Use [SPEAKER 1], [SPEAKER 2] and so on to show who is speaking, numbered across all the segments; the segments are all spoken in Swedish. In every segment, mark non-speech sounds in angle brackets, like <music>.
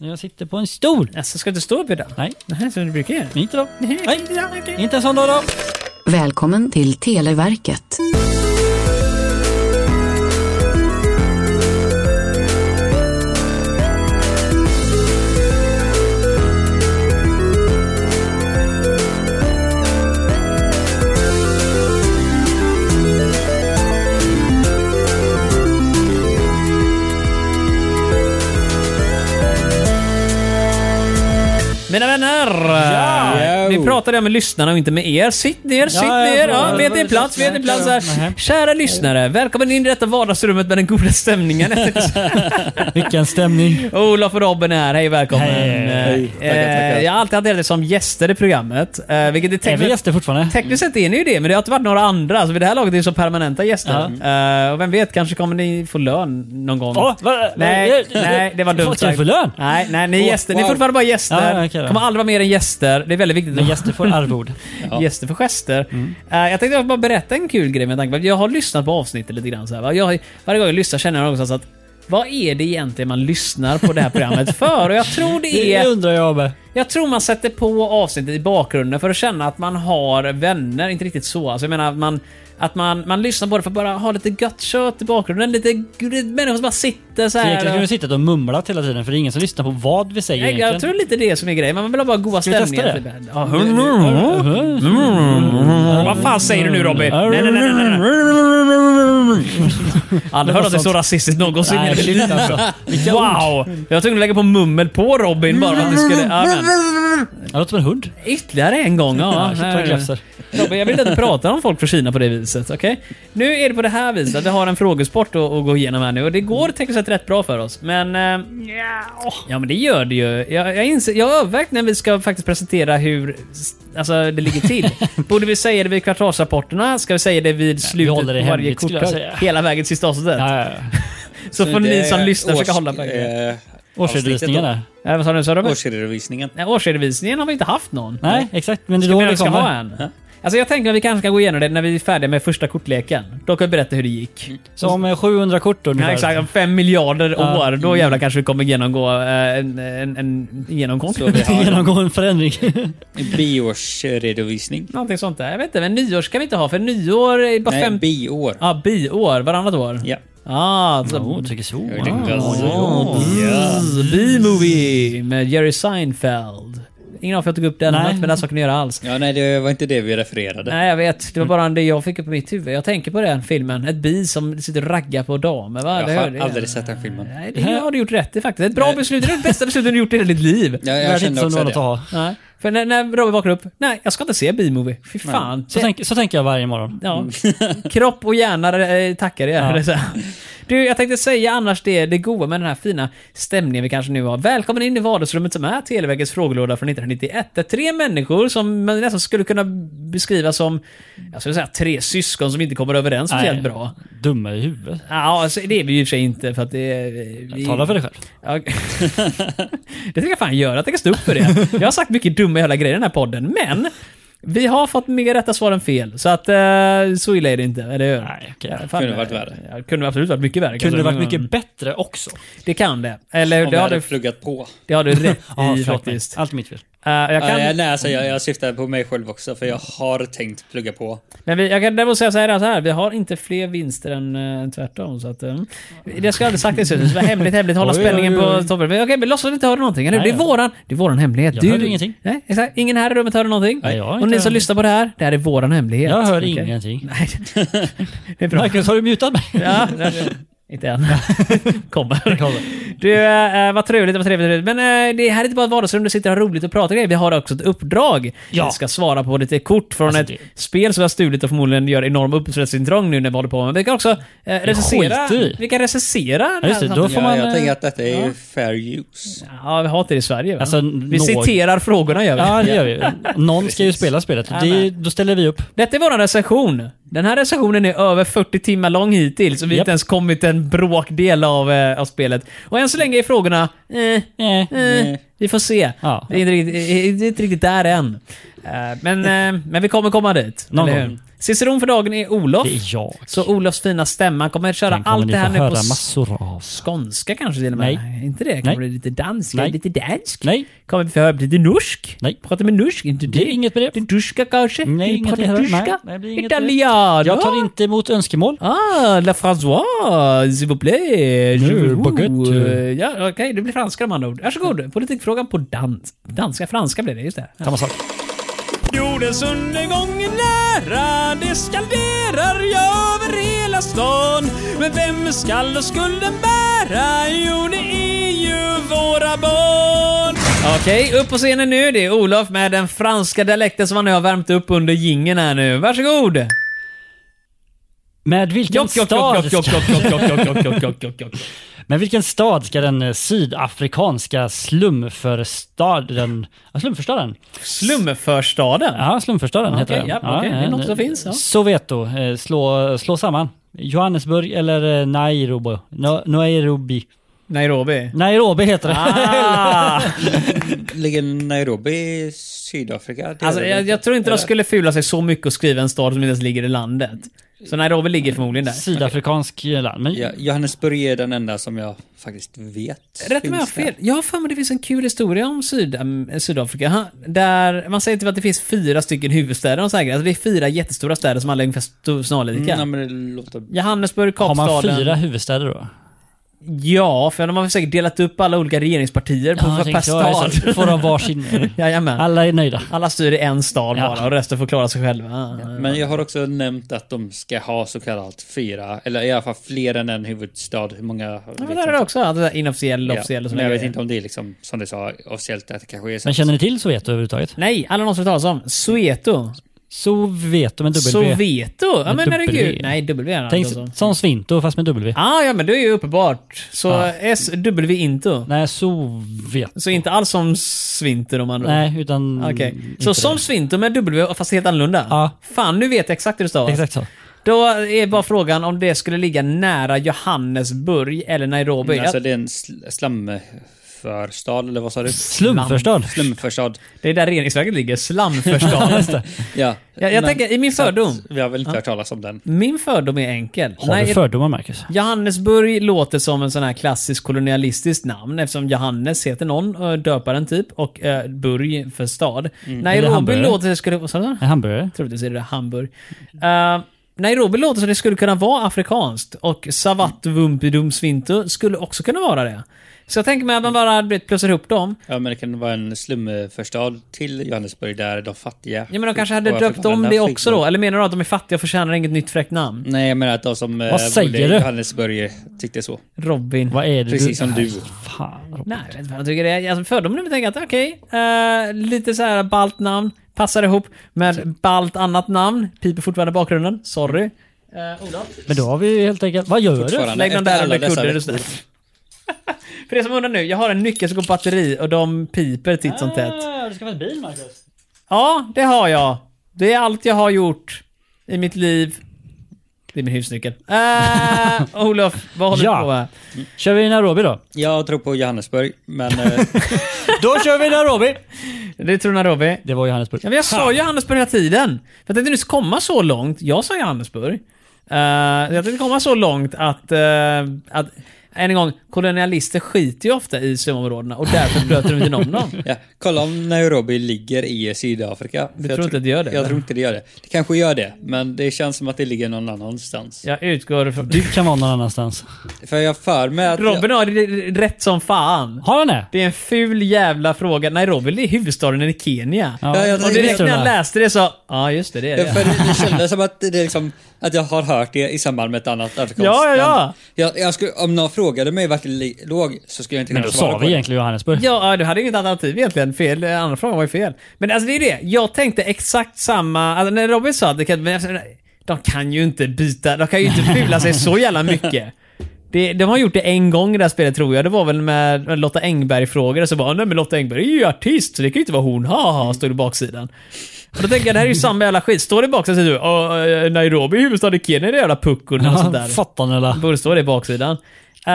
[SPEAKER 1] Jag sitter på en stol.
[SPEAKER 2] Alltså, ska du stå upp idag?
[SPEAKER 1] Nej.
[SPEAKER 2] Nej, som du brukar göra.
[SPEAKER 1] Inte då.
[SPEAKER 2] Nej,
[SPEAKER 1] Nej.
[SPEAKER 2] inte idag, okej.
[SPEAKER 1] Inte en sån
[SPEAKER 2] <laughs>
[SPEAKER 1] dag då.
[SPEAKER 3] Välkommen till Televerket.
[SPEAKER 2] Mina vänner!
[SPEAKER 1] Ja!
[SPEAKER 2] Vi pratade med lyssnarna och inte med er. Sitt ner, sitt
[SPEAKER 1] ja,
[SPEAKER 2] ner!
[SPEAKER 1] bra.
[SPEAKER 2] Ja, vet din plats, vet din plats här. Kära lyssnare, välkommen in i detta vardagsrummet med den
[SPEAKER 1] <laughs>
[SPEAKER 2] goda stämningen.
[SPEAKER 1] Vilken stämning.
[SPEAKER 2] Olof och Robin är här, hej välkommen.
[SPEAKER 1] Hej.
[SPEAKER 4] Hej.
[SPEAKER 2] Eh,
[SPEAKER 4] Tackar, tackar.
[SPEAKER 2] Jag har alltid haft er som gäster i programmet. eh, Vilket är
[SPEAKER 1] Är vi
[SPEAKER 2] tekniskt...
[SPEAKER 1] gäster fortfarande?
[SPEAKER 2] Tekniskt sett är ni ju det, men det har inte varit några andra. Så vid det här laget är det så permanenta gäster. Eh, och vem vet, kanske kommer ni få lön någon gång.
[SPEAKER 1] Åh, va-
[SPEAKER 2] Nej,
[SPEAKER 1] eh,
[SPEAKER 2] nej, det var dumt
[SPEAKER 1] Vad ska jag få lön?
[SPEAKER 2] Nej, nej, ni är
[SPEAKER 4] Åh,
[SPEAKER 2] gäster. Ni är
[SPEAKER 4] wow.
[SPEAKER 2] fortfarande bara gäster.
[SPEAKER 1] Ja, okej då.
[SPEAKER 2] kommer aldrig vara mer än gäster. Det är väldigt viktigt.
[SPEAKER 1] Men gäster <laughs> får arvod.
[SPEAKER 2] <laughs> Ja. Gäster för gester. Eh, jag tänkte bara berätta en kul grej med tanke på att jag har lyssnat på avsnittet lite grann. Så här, va? jag, har- varje gång jag lyssnar känner jag någonstans att vad är det egentligen man lyssnar på det här programmet för? Och jag tror det
[SPEAKER 1] Det
[SPEAKER 2] är...
[SPEAKER 1] undrar jag med.
[SPEAKER 2] Jag tror man sätter på avsnittet i bakgrunden för att känna att man har vänner. Inte riktigt så. Alltså jag menar att man... Att man, man lyssnar på det för att bara ha lite gött kött i bakgrunden. Lite gr- människor som bara sitter så
[SPEAKER 1] Så
[SPEAKER 2] här.
[SPEAKER 1] egentligen skulle
[SPEAKER 2] och-
[SPEAKER 1] vi suttit och mumlat hela tiden för det är ingen som lyssnar på vad vi säger
[SPEAKER 2] Jag, jag
[SPEAKER 1] egentligen.
[SPEAKER 2] tror lite det som är grejen. Man vill ha bara goda
[SPEAKER 1] Ska vi testa
[SPEAKER 2] stämningar.
[SPEAKER 1] det?
[SPEAKER 2] Typ. Ja. Mm. Vad fan säger du nu Robin? Nej, nej, nej, nej, nej. Aldrig hört att det är så rasistiskt någonsin.
[SPEAKER 1] Nej, shit
[SPEAKER 2] <laughs>
[SPEAKER 1] alltså.
[SPEAKER 2] Wow! Jag var tvungen att lägga på mummel på Robin bara för att det skulle... Ja, <laughs> men.
[SPEAKER 1] Jag låter som en hund.
[SPEAKER 2] Ytterligare en gång. Ja,
[SPEAKER 1] Ja, shit,
[SPEAKER 2] Nej,
[SPEAKER 1] vad
[SPEAKER 2] nej.
[SPEAKER 1] glafsar.
[SPEAKER 2] Robin, jag vill inte prata om folk från Kina på det viset. Okej? Nu är det på det här viset att vi har en frågesport att, att gå igenom här nu och det går tekniskt sett rätt bra för oss. Men... eh, Ja men det gör det ju. Jag, jag, inser, jag har övervägt när vi ska faktiskt presentera hur s- alltså, det ligger
[SPEAKER 1] <laughs>
[SPEAKER 2] till. Borde vi säga det vid kvartalsrapporterna? Ska vi säga det vid slutet
[SPEAKER 1] håller det
[SPEAKER 2] på varje
[SPEAKER 1] hemligt, skulle jag
[SPEAKER 2] kortplats?
[SPEAKER 1] säga.
[SPEAKER 2] Hela vägen till sista avsnittet?
[SPEAKER 1] Ja, ja, ja.
[SPEAKER 2] Så får ni som lyssnar försöka hålla på grejen.
[SPEAKER 4] eh,
[SPEAKER 1] Årsredovisningen
[SPEAKER 4] avsnittet
[SPEAKER 1] där.
[SPEAKER 2] Äh, vad sa du? Sa du?
[SPEAKER 4] då. Årsredovisningen.
[SPEAKER 2] Nej, årsredovisningen har vi inte haft någon.
[SPEAKER 1] Nej, exakt. Men det är
[SPEAKER 2] Ska
[SPEAKER 1] då
[SPEAKER 2] vi, vi
[SPEAKER 1] det
[SPEAKER 2] ska ha
[SPEAKER 1] kommer.
[SPEAKER 2] en? Alltså jag tänker att vi kanske kan gå igenom det när vi är färdiga med första kortleken. Då kan vi berätta hur det gick.
[SPEAKER 4] Mm.
[SPEAKER 1] Så om eh, 700 kort
[SPEAKER 2] Ja,
[SPEAKER 1] ungefär.
[SPEAKER 2] exakt. Om Fem miljarder
[SPEAKER 1] Ja.
[SPEAKER 2] år, då jävlar kanske vi kommer genomgå eh, en, en, en genomgång.
[SPEAKER 4] Så vi
[SPEAKER 1] <laughs>
[SPEAKER 4] har
[SPEAKER 1] Genomgå en förändring.
[SPEAKER 4] en biårsredovisning.
[SPEAKER 2] <laughs> Någonting sånt där. Jag vet inte, men nyår ska vi inte ha för nyår är bara
[SPEAKER 4] Nej,
[SPEAKER 2] fem...
[SPEAKER 4] biår.
[SPEAKER 2] Ja, biår. Varannat år.
[SPEAKER 4] Ja.
[SPEAKER 2] Ah, så...
[SPEAKER 1] Åh, tycker så.
[SPEAKER 4] Jag tänkte
[SPEAKER 1] Ah.
[SPEAKER 4] så.
[SPEAKER 2] Bzzz, B-movie med Jerry Seinfeld. Ingen av er tog upp den,
[SPEAKER 1] Nej.
[SPEAKER 2] men den saken att göra alls.
[SPEAKER 4] Ja, nej, det var inte det vi refererade.
[SPEAKER 2] Nej, jag vet. Det var bara det jag fick upp i mitt huvud. Jag tänker på den filmen. Ett bi som sitter och raggar på damer, va?
[SPEAKER 4] jag
[SPEAKER 2] Det hör
[SPEAKER 4] har
[SPEAKER 2] det.
[SPEAKER 4] aldrig sett den filmen.
[SPEAKER 2] Nej, det har du gjort rätt i faktiskt. Ett bra beslut. Det är det bästa beslutet du gjort i hela ditt liv.
[SPEAKER 4] Ja, jag
[SPEAKER 1] Verkar inte
[SPEAKER 4] kände
[SPEAKER 1] som
[SPEAKER 4] också
[SPEAKER 1] något att
[SPEAKER 4] det.
[SPEAKER 1] ha.
[SPEAKER 2] Nej. För när, när Robin vaknar upp. Nej, jag ska inte se B-movie. Fy fan.
[SPEAKER 1] Så, tänk, så tänker jag varje morgon.
[SPEAKER 2] Ja.
[SPEAKER 1] Mm.
[SPEAKER 2] <laughs> Kropp och hjärna eh, tackar er. Eller så här. Du, jag tänkte säga annars det, det goa med den här fina stämningen vi kanske nu har. Välkommen in i vardagsrummet som är Televerkets frågelåda från 1991. Där tre människor som man nästan skulle kunna beskriva som, jag skulle säga tre syskon som inte kommer överens
[SPEAKER 1] Nej.
[SPEAKER 2] speciellt bra.
[SPEAKER 1] Dumma i huvudet.
[SPEAKER 2] Ja, alltså, det är vi ju i och för sig inte för att det är... Vi...
[SPEAKER 1] Tala för dig själv.
[SPEAKER 2] Ja. <laughs> det tänker jag fan göra. Jag tänker stå upp för det. Jag har sagt mycket dumma jävla grejer i den här podden, men vi har fått mer rätta svar än fel. Så att eh, så illa är det inte, eller hur?
[SPEAKER 1] Nej, okej.
[SPEAKER 2] Fan,
[SPEAKER 4] Kunde varit värre.
[SPEAKER 2] Ja, det kunde absolut varit mycket värre.
[SPEAKER 1] Kunde det
[SPEAKER 2] kanske.
[SPEAKER 1] varit mycket bättre också?
[SPEAKER 2] Det kan det. Eller
[SPEAKER 4] Om
[SPEAKER 2] det
[SPEAKER 4] jag
[SPEAKER 2] har,
[SPEAKER 4] hade
[SPEAKER 2] du,
[SPEAKER 4] pluggat på.
[SPEAKER 2] det har du
[SPEAKER 1] <laughs>
[SPEAKER 2] rätt
[SPEAKER 1] Ja,
[SPEAKER 2] i
[SPEAKER 1] förlåt mig.
[SPEAKER 2] faktiskt.
[SPEAKER 1] Allt mitt fel.
[SPEAKER 2] Eh, jag kan,
[SPEAKER 4] Ja, jag, nej, alltså, jag, jag syftar på mig själv också, för jag har tänkt plugga på.
[SPEAKER 2] Men vi, jag kan däremot säga så här, så här, vi har inte fler vinster än eh, tvärtom. Så att, eh, det ska jag aldrig sagt i slutet, så det var hemligt, hemligt, hålla
[SPEAKER 1] Oj,
[SPEAKER 2] spänningen
[SPEAKER 1] oj, oj.
[SPEAKER 2] på toppen. Men Okej, men låtsas vi inte höra någonting, eller hur?
[SPEAKER 1] Nej,
[SPEAKER 2] Det är
[SPEAKER 1] ja.
[SPEAKER 2] våran, det är våran hemlighet.
[SPEAKER 1] Jag hörde ingenting.
[SPEAKER 2] Nej, exakt. Ingen här i rummet hörde någonting.
[SPEAKER 1] Nej, jag har
[SPEAKER 2] Och
[SPEAKER 1] inte
[SPEAKER 2] ni
[SPEAKER 1] hört
[SPEAKER 2] som
[SPEAKER 1] någonting.
[SPEAKER 2] lyssnar på det här, det här är våran hemlighet.
[SPEAKER 1] Jag hör
[SPEAKER 2] Okej.
[SPEAKER 1] ingenting.
[SPEAKER 2] Nej, <laughs> det
[SPEAKER 1] <laughs>
[SPEAKER 2] är bra.
[SPEAKER 1] Marcus, har du mutat mig?
[SPEAKER 2] Ja, nej, nej.
[SPEAKER 1] <laughs>
[SPEAKER 2] inte än. Kommer.
[SPEAKER 1] Kolla.
[SPEAKER 2] Du, eh, vad trevligt, vad trevligt. Men eh, det här är inte bara ett vardagsrum där vi sitter och har roligt och pratar grejer. Vi har också ett uppdrag.
[SPEAKER 1] Ja.
[SPEAKER 2] Vi ska svara på lite kort från
[SPEAKER 1] Alltså,
[SPEAKER 2] ett
[SPEAKER 1] det-
[SPEAKER 2] spel som vi har stulit och förmodligen gör enorm upphovsrättsintrång nu när vi håller på med. Men Vi kan också eh, recensera.
[SPEAKER 1] skiter i.
[SPEAKER 2] Vi kan recensera.
[SPEAKER 1] Ja, just det. Då får
[SPEAKER 4] Ja,
[SPEAKER 1] man...
[SPEAKER 4] jag tänker
[SPEAKER 1] eh,
[SPEAKER 4] att detta är fair use.
[SPEAKER 2] Ja, vi har inte det i Sverige va?
[SPEAKER 1] Alltså, någ-
[SPEAKER 2] vi citerar frågorna gör vi.
[SPEAKER 1] Ja, det gör vi. Någon ska ju spela spelet. och Det, då ställer vi upp.
[SPEAKER 2] Detta är vår recension. Den här recensionen är över 40 timmar lång hittills och vi har
[SPEAKER 1] Japp.
[SPEAKER 2] inte ens kommit en bråkdel av, eh, av spelet. Och än så länge är frågorna... Eh,
[SPEAKER 1] Eh,
[SPEAKER 2] eh, Vi får se.
[SPEAKER 1] Ja.
[SPEAKER 2] Det, är inte riktigt, det är inte riktigt där än. Eh, Men, eh, men vi kommer komma dit.
[SPEAKER 1] Någon
[SPEAKER 2] eller hur?
[SPEAKER 1] gång.
[SPEAKER 2] Ciceron för dagen är Olof.
[SPEAKER 1] Det är jag.
[SPEAKER 2] Så Olofs fina stämma kommer att köra
[SPEAKER 1] Den kommer
[SPEAKER 2] allt
[SPEAKER 1] ni
[SPEAKER 2] det här
[SPEAKER 1] få
[SPEAKER 2] nu
[SPEAKER 1] höra
[SPEAKER 2] på
[SPEAKER 1] massor av.
[SPEAKER 2] skånska kanske till och med.
[SPEAKER 1] Nej.
[SPEAKER 2] Inte det? Kommer
[SPEAKER 1] Nej.
[SPEAKER 2] bli lite danska,
[SPEAKER 1] Nej.
[SPEAKER 2] lite dansk?
[SPEAKER 1] Nej,
[SPEAKER 2] Kommer vi få höra lite norsk?
[SPEAKER 1] Nej.
[SPEAKER 2] Prata med norsk? Inte
[SPEAKER 1] det är inget med det.
[SPEAKER 2] Lite tyska kanske?
[SPEAKER 1] Nej,
[SPEAKER 2] Vi
[SPEAKER 1] inget
[SPEAKER 2] pratar
[SPEAKER 1] heller.
[SPEAKER 2] tyska?
[SPEAKER 1] Nej, nej, det är inget
[SPEAKER 2] Italiano?
[SPEAKER 1] Jag tar inte emot önskemål.
[SPEAKER 2] Ah, la François, s'il vous plaît.
[SPEAKER 1] Nu,
[SPEAKER 2] Je vous-
[SPEAKER 1] baguette.
[SPEAKER 2] Ja, okej, det blir franska med andra ord. Varsågod, politikfrågan på dans. Danska, franska blev det, just det.
[SPEAKER 1] Samma sak.
[SPEAKER 2] Jordens undergång är nära, det skanderar jag över hela stan. Men vem skall då skulden bära? Jo, det är ju våra barn. Okej, upp på scenen nu. Det är Olof med den franska dialekten som han nu har värmt upp under jingeln här nu. Varsågod!
[SPEAKER 1] Med vilken
[SPEAKER 2] Jock, jock,
[SPEAKER 1] stad
[SPEAKER 2] jock, jock,
[SPEAKER 1] ska,
[SPEAKER 2] jock, jock, jock, jock, jock, jock, jock, jock, jock.
[SPEAKER 1] med vilken stad ska den eh, sydafrikanska slumförstaden... Ja, slumförstaden?
[SPEAKER 2] Slumförstaden?
[SPEAKER 1] Ja, slumförstaden heter
[SPEAKER 2] Okej,
[SPEAKER 1] den. eh,
[SPEAKER 2] ja, okej. Det är något som finns, ja.
[SPEAKER 1] Soweto, eh, slå, slå samman. Johannesburg eller eh, Nairobi. No, Nairobi.
[SPEAKER 2] Nairobi?
[SPEAKER 1] Nairobi heter det.
[SPEAKER 2] Ah!
[SPEAKER 4] Ligger Nairobi i Sydafrika?
[SPEAKER 2] <laughs>
[SPEAKER 4] Det
[SPEAKER 2] Alltså,
[SPEAKER 4] är det
[SPEAKER 2] jag,
[SPEAKER 4] väl
[SPEAKER 2] jag tror inte de
[SPEAKER 4] Eller?
[SPEAKER 2] skulle fula sig så mycket och skriva en stad som inte ens ligger i landet. Så Nairobi ligger förmodligen
[SPEAKER 1] <laughs>
[SPEAKER 2] där.
[SPEAKER 1] Sydafrikansk eh, land. Men
[SPEAKER 4] Ja, Johannesburg är den enda som jag faktiskt vet.
[SPEAKER 2] Rätt om jag har
[SPEAKER 4] finns där.
[SPEAKER 2] fel. Jag har för mig det finns en kul historia om Syd, äm, Sydafrika. Ha, Där man säger typ att det finns fyra stycken huvudstäder och så här grejer. Alltså det är fyra jättestora städer som alla är ungefär sto- snarlika.
[SPEAKER 4] Mm, ja, men det låter...
[SPEAKER 2] Johannesburg,
[SPEAKER 1] har
[SPEAKER 2] Kapstaden.
[SPEAKER 1] man fyra huvudstäder då?
[SPEAKER 2] Ja, för de har väl säkert delat upp alla olika regeringspartier på,
[SPEAKER 1] jag
[SPEAKER 2] per
[SPEAKER 1] tänkte, ja,
[SPEAKER 2] stad.
[SPEAKER 1] just det. Då får de varsin.
[SPEAKER 2] <laughs> Jajamän.
[SPEAKER 1] Alla är nöjda.
[SPEAKER 2] Alla styr i en stad
[SPEAKER 1] Ja.
[SPEAKER 2] bara och resten får klara sig själva.
[SPEAKER 4] Men jag har också nämnt att de ska ha så kallat fyra, eller i alla fall fler än en huvudstad. Hur många?
[SPEAKER 2] Ja,
[SPEAKER 4] vet
[SPEAKER 2] men
[SPEAKER 4] jag
[SPEAKER 1] Liksom.
[SPEAKER 2] där är det också alltså, inofficiell,
[SPEAKER 4] Ja,
[SPEAKER 2] officiell och
[SPEAKER 4] men jag
[SPEAKER 2] sådana
[SPEAKER 4] vet
[SPEAKER 2] grejer.
[SPEAKER 4] inte om det är liksom, som du sa, officiellt att det kanske är så.
[SPEAKER 1] Men känner ni till Soweto överhuvudtaget?
[SPEAKER 2] Nej, alla någonsin hört talas om. Soweto.
[SPEAKER 1] Soweto med W.
[SPEAKER 2] Soweto? Ja
[SPEAKER 1] Med
[SPEAKER 2] men herregud.
[SPEAKER 1] W.
[SPEAKER 2] Nej, W har jag
[SPEAKER 1] Tänk
[SPEAKER 2] inte hört talas om.
[SPEAKER 1] som Svinto fast med W.
[SPEAKER 2] Ah, ja men det är ju uppenbart. Så
[SPEAKER 1] Ja.
[SPEAKER 2] SW into.
[SPEAKER 1] Nej, Soweto.
[SPEAKER 2] Så inte alls som Svinter om man
[SPEAKER 1] Nej, utan...
[SPEAKER 2] Okej.
[SPEAKER 1] inte
[SPEAKER 2] Så
[SPEAKER 1] det.
[SPEAKER 2] som Svinter med W fast helt annorlunda?
[SPEAKER 1] Ja.
[SPEAKER 2] Fan, nu vet jag exakt hur det stavas.
[SPEAKER 1] Exakt så.
[SPEAKER 2] Då är bara frågan om det skulle ligga nära Johannesburg eller Nairobi.
[SPEAKER 1] Mm,
[SPEAKER 4] alltså det är en sl- slamförstad, eller vad sa du?
[SPEAKER 1] Slumförstad.
[SPEAKER 4] Slumförstad.
[SPEAKER 2] Det är där reningsverket
[SPEAKER 1] <laughs>
[SPEAKER 2] ligger. Slamförstaden.
[SPEAKER 4] Ja.
[SPEAKER 2] Jag, jag tänker, i min fördom.
[SPEAKER 4] Vi har väl inte hört talas om den.
[SPEAKER 2] Min fördom är enkel.
[SPEAKER 1] Har du fördomar, Marcus?
[SPEAKER 2] Johannesburg låter som en sån här klassisk kolonialistiskt namn eftersom Johannes heter någon, eh, döparen typ, och eh, burg för stad.
[SPEAKER 1] Eller
[SPEAKER 2] Nairobi
[SPEAKER 1] hamburgare.
[SPEAKER 2] låter som det skulle... vad sa du?
[SPEAKER 1] En hamburgare?
[SPEAKER 2] Troligtvis är det Hamburg. Eh, Nairobi låter som det skulle kunna vara afrikanskt och Savattvumpidum Svintu skulle också kunna vara det. Så jag tänker mig att man bara du vet, plussar ihop dem.
[SPEAKER 4] Ja, men det kan vara en slumförstad till Johannesburg där de fattiga...
[SPEAKER 2] Ja, men de kanske hade
[SPEAKER 4] och
[SPEAKER 2] döpt om
[SPEAKER 4] afrikanerna
[SPEAKER 2] det
[SPEAKER 4] fick
[SPEAKER 2] också
[SPEAKER 4] bo.
[SPEAKER 2] då? Eller menar du att de är fattiga och förtjänar inget nytt fräckt namn?
[SPEAKER 4] Nej, jag menar att de som eh,
[SPEAKER 1] säger
[SPEAKER 4] bodde i
[SPEAKER 1] du?
[SPEAKER 4] Johannesburg eh, tyckte så.
[SPEAKER 2] Robin.
[SPEAKER 1] Vad är det
[SPEAKER 4] Precis som du.
[SPEAKER 1] Fan, Robin.
[SPEAKER 2] Nej, jag vet inte vad jag tycker det är. Alltså, fördomen är väl tänkt att okej, eh, lite så här balt namn passar ihop
[SPEAKER 4] Alltså-
[SPEAKER 2] med balt annat namn. Piper fortfarande i bakgrunden. Sorry. Uh, Olof?
[SPEAKER 1] Men då har vi ju helt enkelt... Vad gör du?
[SPEAKER 4] Fortfarande.
[SPEAKER 2] Lägg den
[SPEAKER 4] Efter
[SPEAKER 2] där
[SPEAKER 4] alla
[SPEAKER 2] under
[SPEAKER 4] dessa
[SPEAKER 2] kudden. är du
[SPEAKER 4] veckor.
[SPEAKER 2] snäll. <laughs> För det som undrar nu, jag har en nyckel som går på batteri och de piper titt som tätt.
[SPEAKER 1] Ah, Du ska få en bil, Marcus.
[SPEAKER 2] Ja, det har jag. Det är allt jag har gjort i mitt liv. Det är min husnyckel. Uh, <laughs> Olof, vad håller
[SPEAKER 1] Ja.
[SPEAKER 2] du på med?
[SPEAKER 1] Kör vi Nairobi då?
[SPEAKER 4] Jag tror på Johannesburg, men...
[SPEAKER 2] <laughs>
[SPEAKER 4] eh,
[SPEAKER 1] Då kör vi Nairobi!
[SPEAKER 2] Det tror Nairobi.
[SPEAKER 1] Det var Johannesburg.
[SPEAKER 2] Ja, men jag sa Johannesburg hela tiden. För att det inte skulle komma så långt. Jag sa Johannesburg. Uh, jag tänkte komma så långt att, eh, att än en gång, kolonialister skiter ju ofta i slumområdena och därför blöter de inte någon dem.
[SPEAKER 4] <laughs> Ja, kolla om Nairobi ligger i Sydafrika. Du
[SPEAKER 2] tror inte att det gör det,
[SPEAKER 4] Jag
[SPEAKER 2] eller?
[SPEAKER 4] tror inte det gör det. Det kanske gör det, men det känns som att det ligger någon annanstans.
[SPEAKER 2] Jag utgår från...
[SPEAKER 1] Du kan vara någon annanstans.
[SPEAKER 4] För jag har för mig att...
[SPEAKER 2] Robin har det rätt som fan.
[SPEAKER 1] Har han det?
[SPEAKER 2] Det är en ful jävla fråga. Nairobi det är huvudstaden i Kenya.
[SPEAKER 4] Ja, jag
[SPEAKER 2] Och direkt när jag
[SPEAKER 1] tror det.
[SPEAKER 2] läste det så... Ja, just det, det är
[SPEAKER 4] Jag,
[SPEAKER 2] det.
[SPEAKER 4] för det
[SPEAKER 2] <laughs>
[SPEAKER 4] det kändes som att, det är liksom, att jag har hört det i samband med ett annat afrikanskt
[SPEAKER 2] Ja, ja, ja.
[SPEAKER 4] land. Jag, jag skulle, om någon frågade mig vart det li- låg så skulle jag inte
[SPEAKER 1] Men
[SPEAKER 4] kunna
[SPEAKER 1] då
[SPEAKER 4] svara
[SPEAKER 1] sa vi
[SPEAKER 4] på det.
[SPEAKER 1] egentligen Johannesburg.
[SPEAKER 2] Ja, ja, du hade inget alternativ egentligen. Fel, eh, andra frågan var ju fel. Men alltså det är det. Jag tänkte exakt samma... Alltså, när Robin sa att det kan, men, alltså, de kan ju inte byta... De kan ju inte fula sig så jävla mycket. Det, de har gjort det en gång i det här spelet tror jag. Det var väl med med Lotta Engberg-frågor. Så bara, nej men Lotta Engberg är ju artist, så det kan ju inte vara hon. Haha, står det i baksidan. Och då tänker jag, det här är ju samma jävla skit. Står det i baksidan så säger du, "Åh, eh, Nairobi är huvudstad i Kenya, det är jävla puckon eller sånt där.
[SPEAKER 1] Fattar ni eller?
[SPEAKER 2] Borde stå det i baksidan. Eh,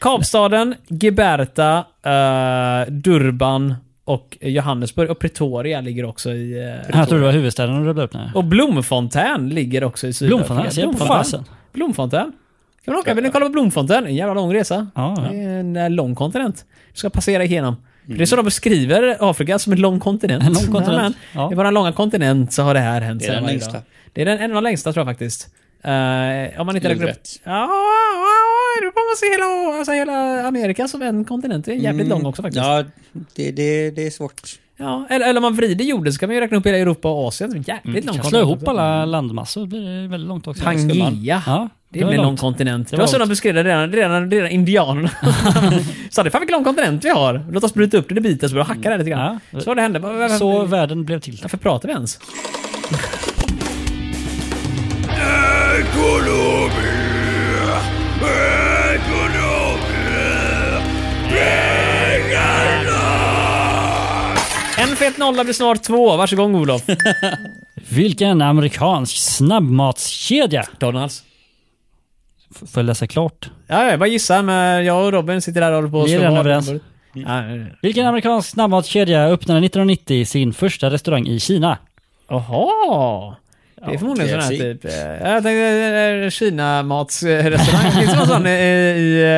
[SPEAKER 2] Kapstaden, Giberta, eh, Durban och Johannesburg. Och Pretoria ligger också i... eh,
[SPEAKER 1] Jag tror det var huvudstäderna du rabblade upp nu.
[SPEAKER 2] och Blomfontänen ligger också i Sydafrika.
[SPEAKER 1] Blomfontän, ser jag på fasen.
[SPEAKER 2] Blomfontän. Kan man åka? Vill ni kolla på Blomfontän? En jävla lång resa.
[SPEAKER 1] Ja,
[SPEAKER 2] Det
[SPEAKER 1] ja.
[SPEAKER 2] är en eh, lång kontinent. Du ska passera igenom. Det är så de beskriver Afrika, som en lång kontinent.
[SPEAKER 1] En lång kontinent,
[SPEAKER 2] Jajamän.
[SPEAKER 1] ja.
[SPEAKER 2] I vår långa kontinent så har det här hänt.
[SPEAKER 4] Det är
[SPEAKER 2] sedan
[SPEAKER 4] den
[SPEAKER 2] varje
[SPEAKER 4] längsta.
[SPEAKER 2] dag. Det är den, en av de längsta tror jag faktiskt. Eh, om man inte
[SPEAKER 4] Nog
[SPEAKER 2] räknar upp...
[SPEAKER 4] rätt.
[SPEAKER 2] Ja, ja, då får man se hela, alltså hela Amerika som en kontinent. Det är jävligt lång också faktiskt. Ja.
[SPEAKER 4] Mm. Ja, det, det, det är svårt.
[SPEAKER 2] eller, eller om man vrider jorden så kan man ju räkna upp hela Europa och Asien. Det är en jävligt lång
[SPEAKER 1] Mm. Kan slå ihop
[SPEAKER 2] också.
[SPEAKER 1] alla landmassor blir det väldigt långt också.
[SPEAKER 2] Pangea.
[SPEAKER 1] Ja,
[SPEAKER 2] Det,
[SPEAKER 1] det var
[SPEAKER 2] blir en lång
[SPEAKER 1] långt.
[SPEAKER 2] kontinent. Det
[SPEAKER 1] Det
[SPEAKER 2] var
[SPEAKER 1] var
[SPEAKER 2] så de
[SPEAKER 1] långt.
[SPEAKER 2] beskrev det redan, redan,
[SPEAKER 1] <laughs>
[SPEAKER 2] redan indianerna. Sa det, fan vilken lång kontinent vi har. Låt oss bryta upp den i bitar så börjar hacka där lite grann.
[SPEAKER 1] Ja.
[SPEAKER 2] Så var det hände. Bara, Varför,
[SPEAKER 1] Så världen blev till.
[SPEAKER 2] varför pratar vi ens? En fet nolla blir snart två. Varsågod
[SPEAKER 1] <laughs>
[SPEAKER 2] Olof.
[SPEAKER 1] Vilken amerikansk snabbmatskedja?
[SPEAKER 2] McDonalds.
[SPEAKER 1] F- Får jag läsa klart?
[SPEAKER 2] Ja, jag bara gissar, men jag och Robin sitter där och håller på och
[SPEAKER 1] Vi är
[SPEAKER 2] slår
[SPEAKER 1] redan
[SPEAKER 2] vad.
[SPEAKER 1] överens.
[SPEAKER 2] Ja, ja, ja.
[SPEAKER 1] Vilken amerikansk snabbmatskedja öppnade 1990 sin första restaurang i Kina?
[SPEAKER 2] Jaha! Det är förmodligen sån här
[SPEAKER 4] KFC.
[SPEAKER 2] typ... eh, Jag tänkte eh, Kinamatsrestaurang. Finns det någon sån i, i, eh,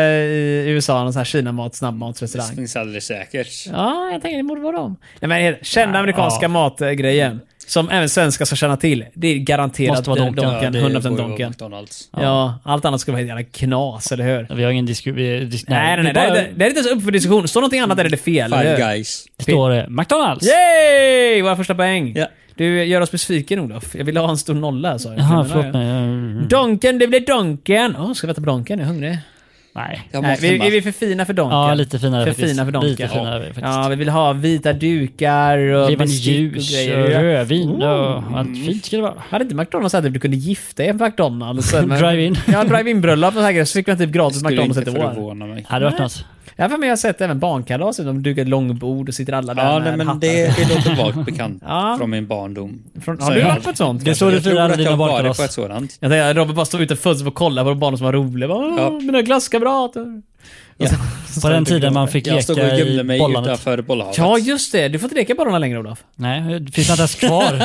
[SPEAKER 2] i USA? Någon sån här Kinamat,
[SPEAKER 4] Det
[SPEAKER 2] snabbmatsrestaurang?
[SPEAKER 4] finns alldeles säkert.
[SPEAKER 2] Ja, jag tänker det borde vara dem. Nej, men eh, kända amerikanska matgrejen. Som även svenskar ska känna till. Det är garanterat
[SPEAKER 1] Måste vara
[SPEAKER 2] eh,
[SPEAKER 1] Donken.
[SPEAKER 2] Donken.
[SPEAKER 4] det
[SPEAKER 2] 100%
[SPEAKER 4] borde vara
[SPEAKER 2] Donken.
[SPEAKER 4] McDonalds.
[SPEAKER 2] Ja, allt annat skulle vara ett jävla knas, eller hur?
[SPEAKER 1] Vi har ingen diskussion. Dis
[SPEAKER 2] Nej, nej, nej. Det,
[SPEAKER 1] det,
[SPEAKER 2] är
[SPEAKER 1] bara
[SPEAKER 2] inte- det är inte ens upp för diskussion. Står någonting annat är det fel. eller
[SPEAKER 4] Five
[SPEAKER 2] hur?
[SPEAKER 4] guys.
[SPEAKER 1] står det McDonalds.
[SPEAKER 2] Yay! Våra första poäng.
[SPEAKER 4] Ja.
[SPEAKER 2] Du gör oss besviken Olof. Jag ville ha en stor nolla sa jag.
[SPEAKER 1] Jaha,
[SPEAKER 2] Men,
[SPEAKER 1] förlåt
[SPEAKER 2] ja.
[SPEAKER 1] mig. Jag-
[SPEAKER 2] Donken, det blir Donken! Åh, ska vi äta på Donken? Jag är hungrig.
[SPEAKER 1] Nej.
[SPEAKER 4] Jag
[SPEAKER 2] Nej,
[SPEAKER 4] måste
[SPEAKER 2] vi,
[SPEAKER 4] hemma.
[SPEAKER 2] är vi för fina för Donken?
[SPEAKER 1] Ja, lite finare
[SPEAKER 2] För
[SPEAKER 1] faktiskt.
[SPEAKER 2] fina för Donken.
[SPEAKER 1] Lite finare faktiskt.
[SPEAKER 2] Ja, vi vill ha vita dukar och
[SPEAKER 1] Levande
[SPEAKER 2] bestick
[SPEAKER 1] ljus och
[SPEAKER 2] Ja.
[SPEAKER 1] rödvin och
[SPEAKER 2] Mm.
[SPEAKER 1] allt fint ska det vara.
[SPEAKER 2] Hade inte McDonalds sagt att du kunde gifta dig på McDonalds?
[SPEAKER 4] <laughs>
[SPEAKER 1] <laughs>
[SPEAKER 2] Men-
[SPEAKER 1] Drive-in.
[SPEAKER 2] ja, drive-in bröllop och säkert. Så fick man typ gratis
[SPEAKER 4] Skulle
[SPEAKER 2] McDonalds
[SPEAKER 4] inte
[SPEAKER 2] ett år.
[SPEAKER 4] förvåna mig.
[SPEAKER 1] Hade det varit något.
[SPEAKER 2] Ja, för mig har jag sett även barnkalas. De dukar ett långbord och sitter alla där
[SPEAKER 4] Ja,
[SPEAKER 2] med
[SPEAKER 4] nej, men
[SPEAKER 2] hattar.
[SPEAKER 4] det, det låter vagt
[SPEAKER 1] <laughs>
[SPEAKER 4] bekant
[SPEAKER 2] Ja.
[SPEAKER 4] från min barndom.
[SPEAKER 2] Från,
[SPEAKER 4] Så
[SPEAKER 2] har du
[SPEAKER 4] jag-
[SPEAKER 2] varit på ett sånt?
[SPEAKER 1] Det är så du
[SPEAKER 4] jag tror
[SPEAKER 1] firar
[SPEAKER 4] att
[SPEAKER 1] dina
[SPEAKER 4] jag har varit
[SPEAKER 1] barnkalas.
[SPEAKER 4] på ett sådant.
[SPEAKER 2] Jag tänkte att Robert bara stod utanför fönstret och kollade på de barnen som var roliga. Bara, "Åh,
[SPEAKER 4] Ja.
[SPEAKER 2] Mina klasskamrater.
[SPEAKER 4] Ja.
[SPEAKER 1] På den tiden man fick
[SPEAKER 4] Jag stod och
[SPEAKER 1] leka
[SPEAKER 4] gömde
[SPEAKER 1] i
[SPEAKER 4] mig
[SPEAKER 1] bollandet.
[SPEAKER 4] utanför bollhavet.
[SPEAKER 2] Ja, just det. Du får inte leka bollarna längre, Olof.
[SPEAKER 1] Nej, det finns inte ens kvar.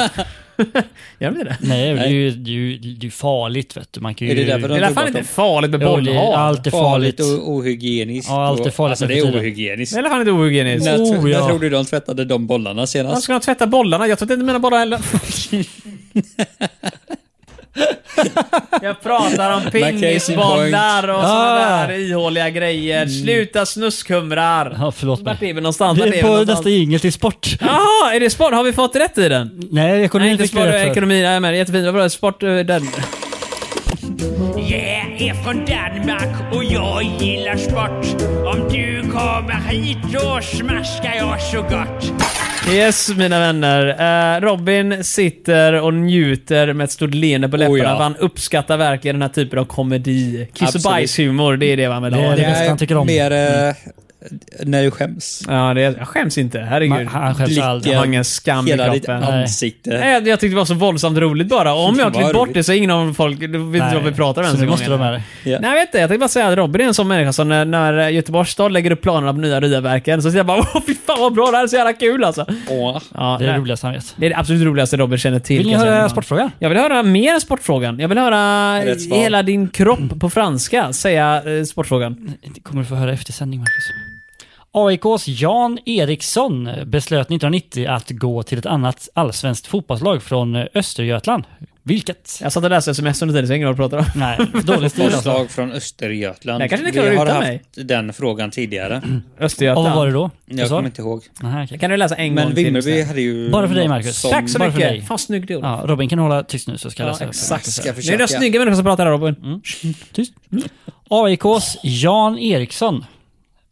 [SPEAKER 2] Gör de inte det?
[SPEAKER 1] Nej, det är ju det är ju- det är farligt vet du. Man kan ju...
[SPEAKER 4] Är det därför
[SPEAKER 2] Det
[SPEAKER 4] de-
[SPEAKER 2] är i alla fall inte farligt med
[SPEAKER 1] Jo, det är-
[SPEAKER 2] bollhav.
[SPEAKER 1] allt är
[SPEAKER 4] farligt
[SPEAKER 1] farligt.
[SPEAKER 4] och ohygieniskt.
[SPEAKER 1] Ja, allt är farligt
[SPEAKER 4] Och- Alltså,
[SPEAKER 1] nu
[SPEAKER 4] det
[SPEAKER 1] för
[SPEAKER 4] är
[SPEAKER 1] tiden.
[SPEAKER 2] Det
[SPEAKER 4] ohygieniskt.
[SPEAKER 2] är i alla fall inte ohygieniskt.
[SPEAKER 4] När, tro,
[SPEAKER 1] Oh, ja.
[SPEAKER 4] när tror du de tvättade de bollarna
[SPEAKER 2] Man
[SPEAKER 4] senast?
[SPEAKER 2] ska de tvätta bollarna? Jag tvättar inte mina bollar heller. Jag pratar om pingisbollar och såna
[SPEAKER 1] Ah.
[SPEAKER 2] där ihåliga grejer. Sluta snuskhumrar.
[SPEAKER 1] Ja, förlåt
[SPEAKER 2] Vart
[SPEAKER 1] mig.
[SPEAKER 2] är vi någonstans? Vart
[SPEAKER 1] Vi är på
[SPEAKER 2] någonstans?
[SPEAKER 1] nästa jingel till
[SPEAKER 2] <laughs>
[SPEAKER 1] sport.
[SPEAKER 2] Jaha, är det sport? Har vi fått rätt i den?
[SPEAKER 1] Nej,
[SPEAKER 2] Nej,
[SPEAKER 1] ekonomin
[SPEAKER 2] inte
[SPEAKER 1] fick
[SPEAKER 2] sport
[SPEAKER 1] vi
[SPEAKER 2] och
[SPEAKER 1] rätt för.
[SPEAKER 2] ekonomi. Nej, men jättefint. Vad bra. Sport, eh, den.
[SPEAKER 5] Jag är från Danmark och jag gillar sport. Om du kommer hit då smaskar jag så gott.
[SPEAKER 2] Yes, mina vänner. Eh, Robin sitter och njuter med ett stort leende på läpparna.
[SPEAKER 4] Oh, ja.
[SPEAKER 2] för Han uppskattar verkligen den här typen av komedi. Kiss och
[SPEAKER 4] Absolut.
[SPEAKER 2] bajshumor, det är det man vill ha.
[SPEAKER 1] Det är det. bästa han tycker om. Mm.
[SPEAKER 4] mer eh, när du skäms.
[SPEAKER 2] Ja, det är, jag skäms inte.
[SPEAKER 1] Man,
[SPEAKER 2] Herregud.
[SPEAKER 1] han skäms
[SPEAKER 4] Blicken.
[SPEAKER 2] Jag har
[SPEAKER 1] aldrig.
[SPEAKER 2] ingen skam i
[SPEAKER 4] Hela ditt
[SPEAKER 2] kroppen.
[SPEAKER 1] Nej.
[SPEAKER 4] ansikte.
[SPEAKER 2] Nej, jag, jag tyckte det var så våldsamt roligt bara. Om jag
[SPEAKER 4] Vad
[SPEAKER 2] klippt bort
[SPEAKER 4] roligt.
[SPEAKER 2] det så är ingen av folk vet inte vad vi pratar om
[SPEAKER 1] så
[SPEAKER 2] ens
[SPEAKER 1] nu
[SPEAKER 2] en gång.
[SPEAKER 1] måste de här.
[SPEAKER 4] Ja.
[SPEAKER 2] Nej, jag vet inte. Jag tänkte bara säga att Robin är en sån människa som när, när Göteborgs stad lägger upp planerna på nya Ryaverken så säger jag bara <laughs> åh fy fan vad bra, det här är så jävla kul alltså.
[SPEAKER 4] Åh.
[SPEAKER 2] Ja,
[SPEAKER 1] Det är det
[SPEAKER 2] nej.
[SPEAKER 1] roligaste han vet.
[SPEAKER 2] det är det absolut roligaste Robin känner till.
[SPEAKER 1] Vill ni
[SPEAKER 2] kan jag säga.
[SPEAKER 1] höra sportfrågan?
[SPEAKER 2] Jag vill höra mer än sportfrågan. Jag vill höra
[SPEAKER 4] Rätt svar.
[SPEAKER 2] hela din kropp på franska säga eh, sportfrågan.
[SPEAKER 1] Det kommer du få höra efter sändning, Marcus. AIKs Jan Eriksson beslöt 1990 att gå till ett annat allsvenskt fotbollslag från Östergötland. Vilket?
[SPEAKER 2] Jag satt och läste sms under tiden så jag har ingen aning vad du pratar om. <laughs>
[SPEAKER 1] Nej, dålig stil alltså.
[SPEAKER 4] Förslag från Östergötland.
[SPEAKER 2] Det kanske ni
[SPEAKER 4] Vi
[SPEAKER 2] klarar
[SPEAKER 4] har
[SPEAKER 2] utan
[SPEAKER 4] haft
[SPEAKER 2] mig.
[SPEAKER 4] den frågan tidigare.
[SPEAKER 1] Och
[SPEAKER 2] Östergötland.
[SPEAKER 1] vad var det då? Du
[SPEAKER 4] Jag
[SPEAKER 1] sa?
[SPEAKER 4] kommer inte ihåg.
[SPEAKER 1] Nähä, okej.
[SPEAKER 2] Kan du läsa en gång
[SPEAKER 4] Men
[SPEAKER 2] till?
[SPEAKER 4] Vimmerby
[SPEAKER 2] istället?
[SPEAKER 4] hade ju...
[SPEAKER 1] Bara för dig,
[SPEAKER 4] något
[SPEAKER 1] Marcus.
[SPEAKER 4] som-
[SPEAKER 2] Tack så
[SPEAKER 1] Bara för dig.
[SPEAKER 2] mycket. Fan snygg du Olof.
[SPEAKER 1] Ja, Robin kan hålla tyst nu så ska jag läsa upp.
[SPEAKER 2] exakt.
[SPEAKER 4] Ska
[SPEAKER 2] Nu
[SPEAKER 4] jag
[SPEAKER 2] är det
[SPEAKER 4] försöka?
[SPEAKER 2] de snygga människor som pratar här Robin.
[SPEAKER 1] Tyst. AIKs Jan Eriksson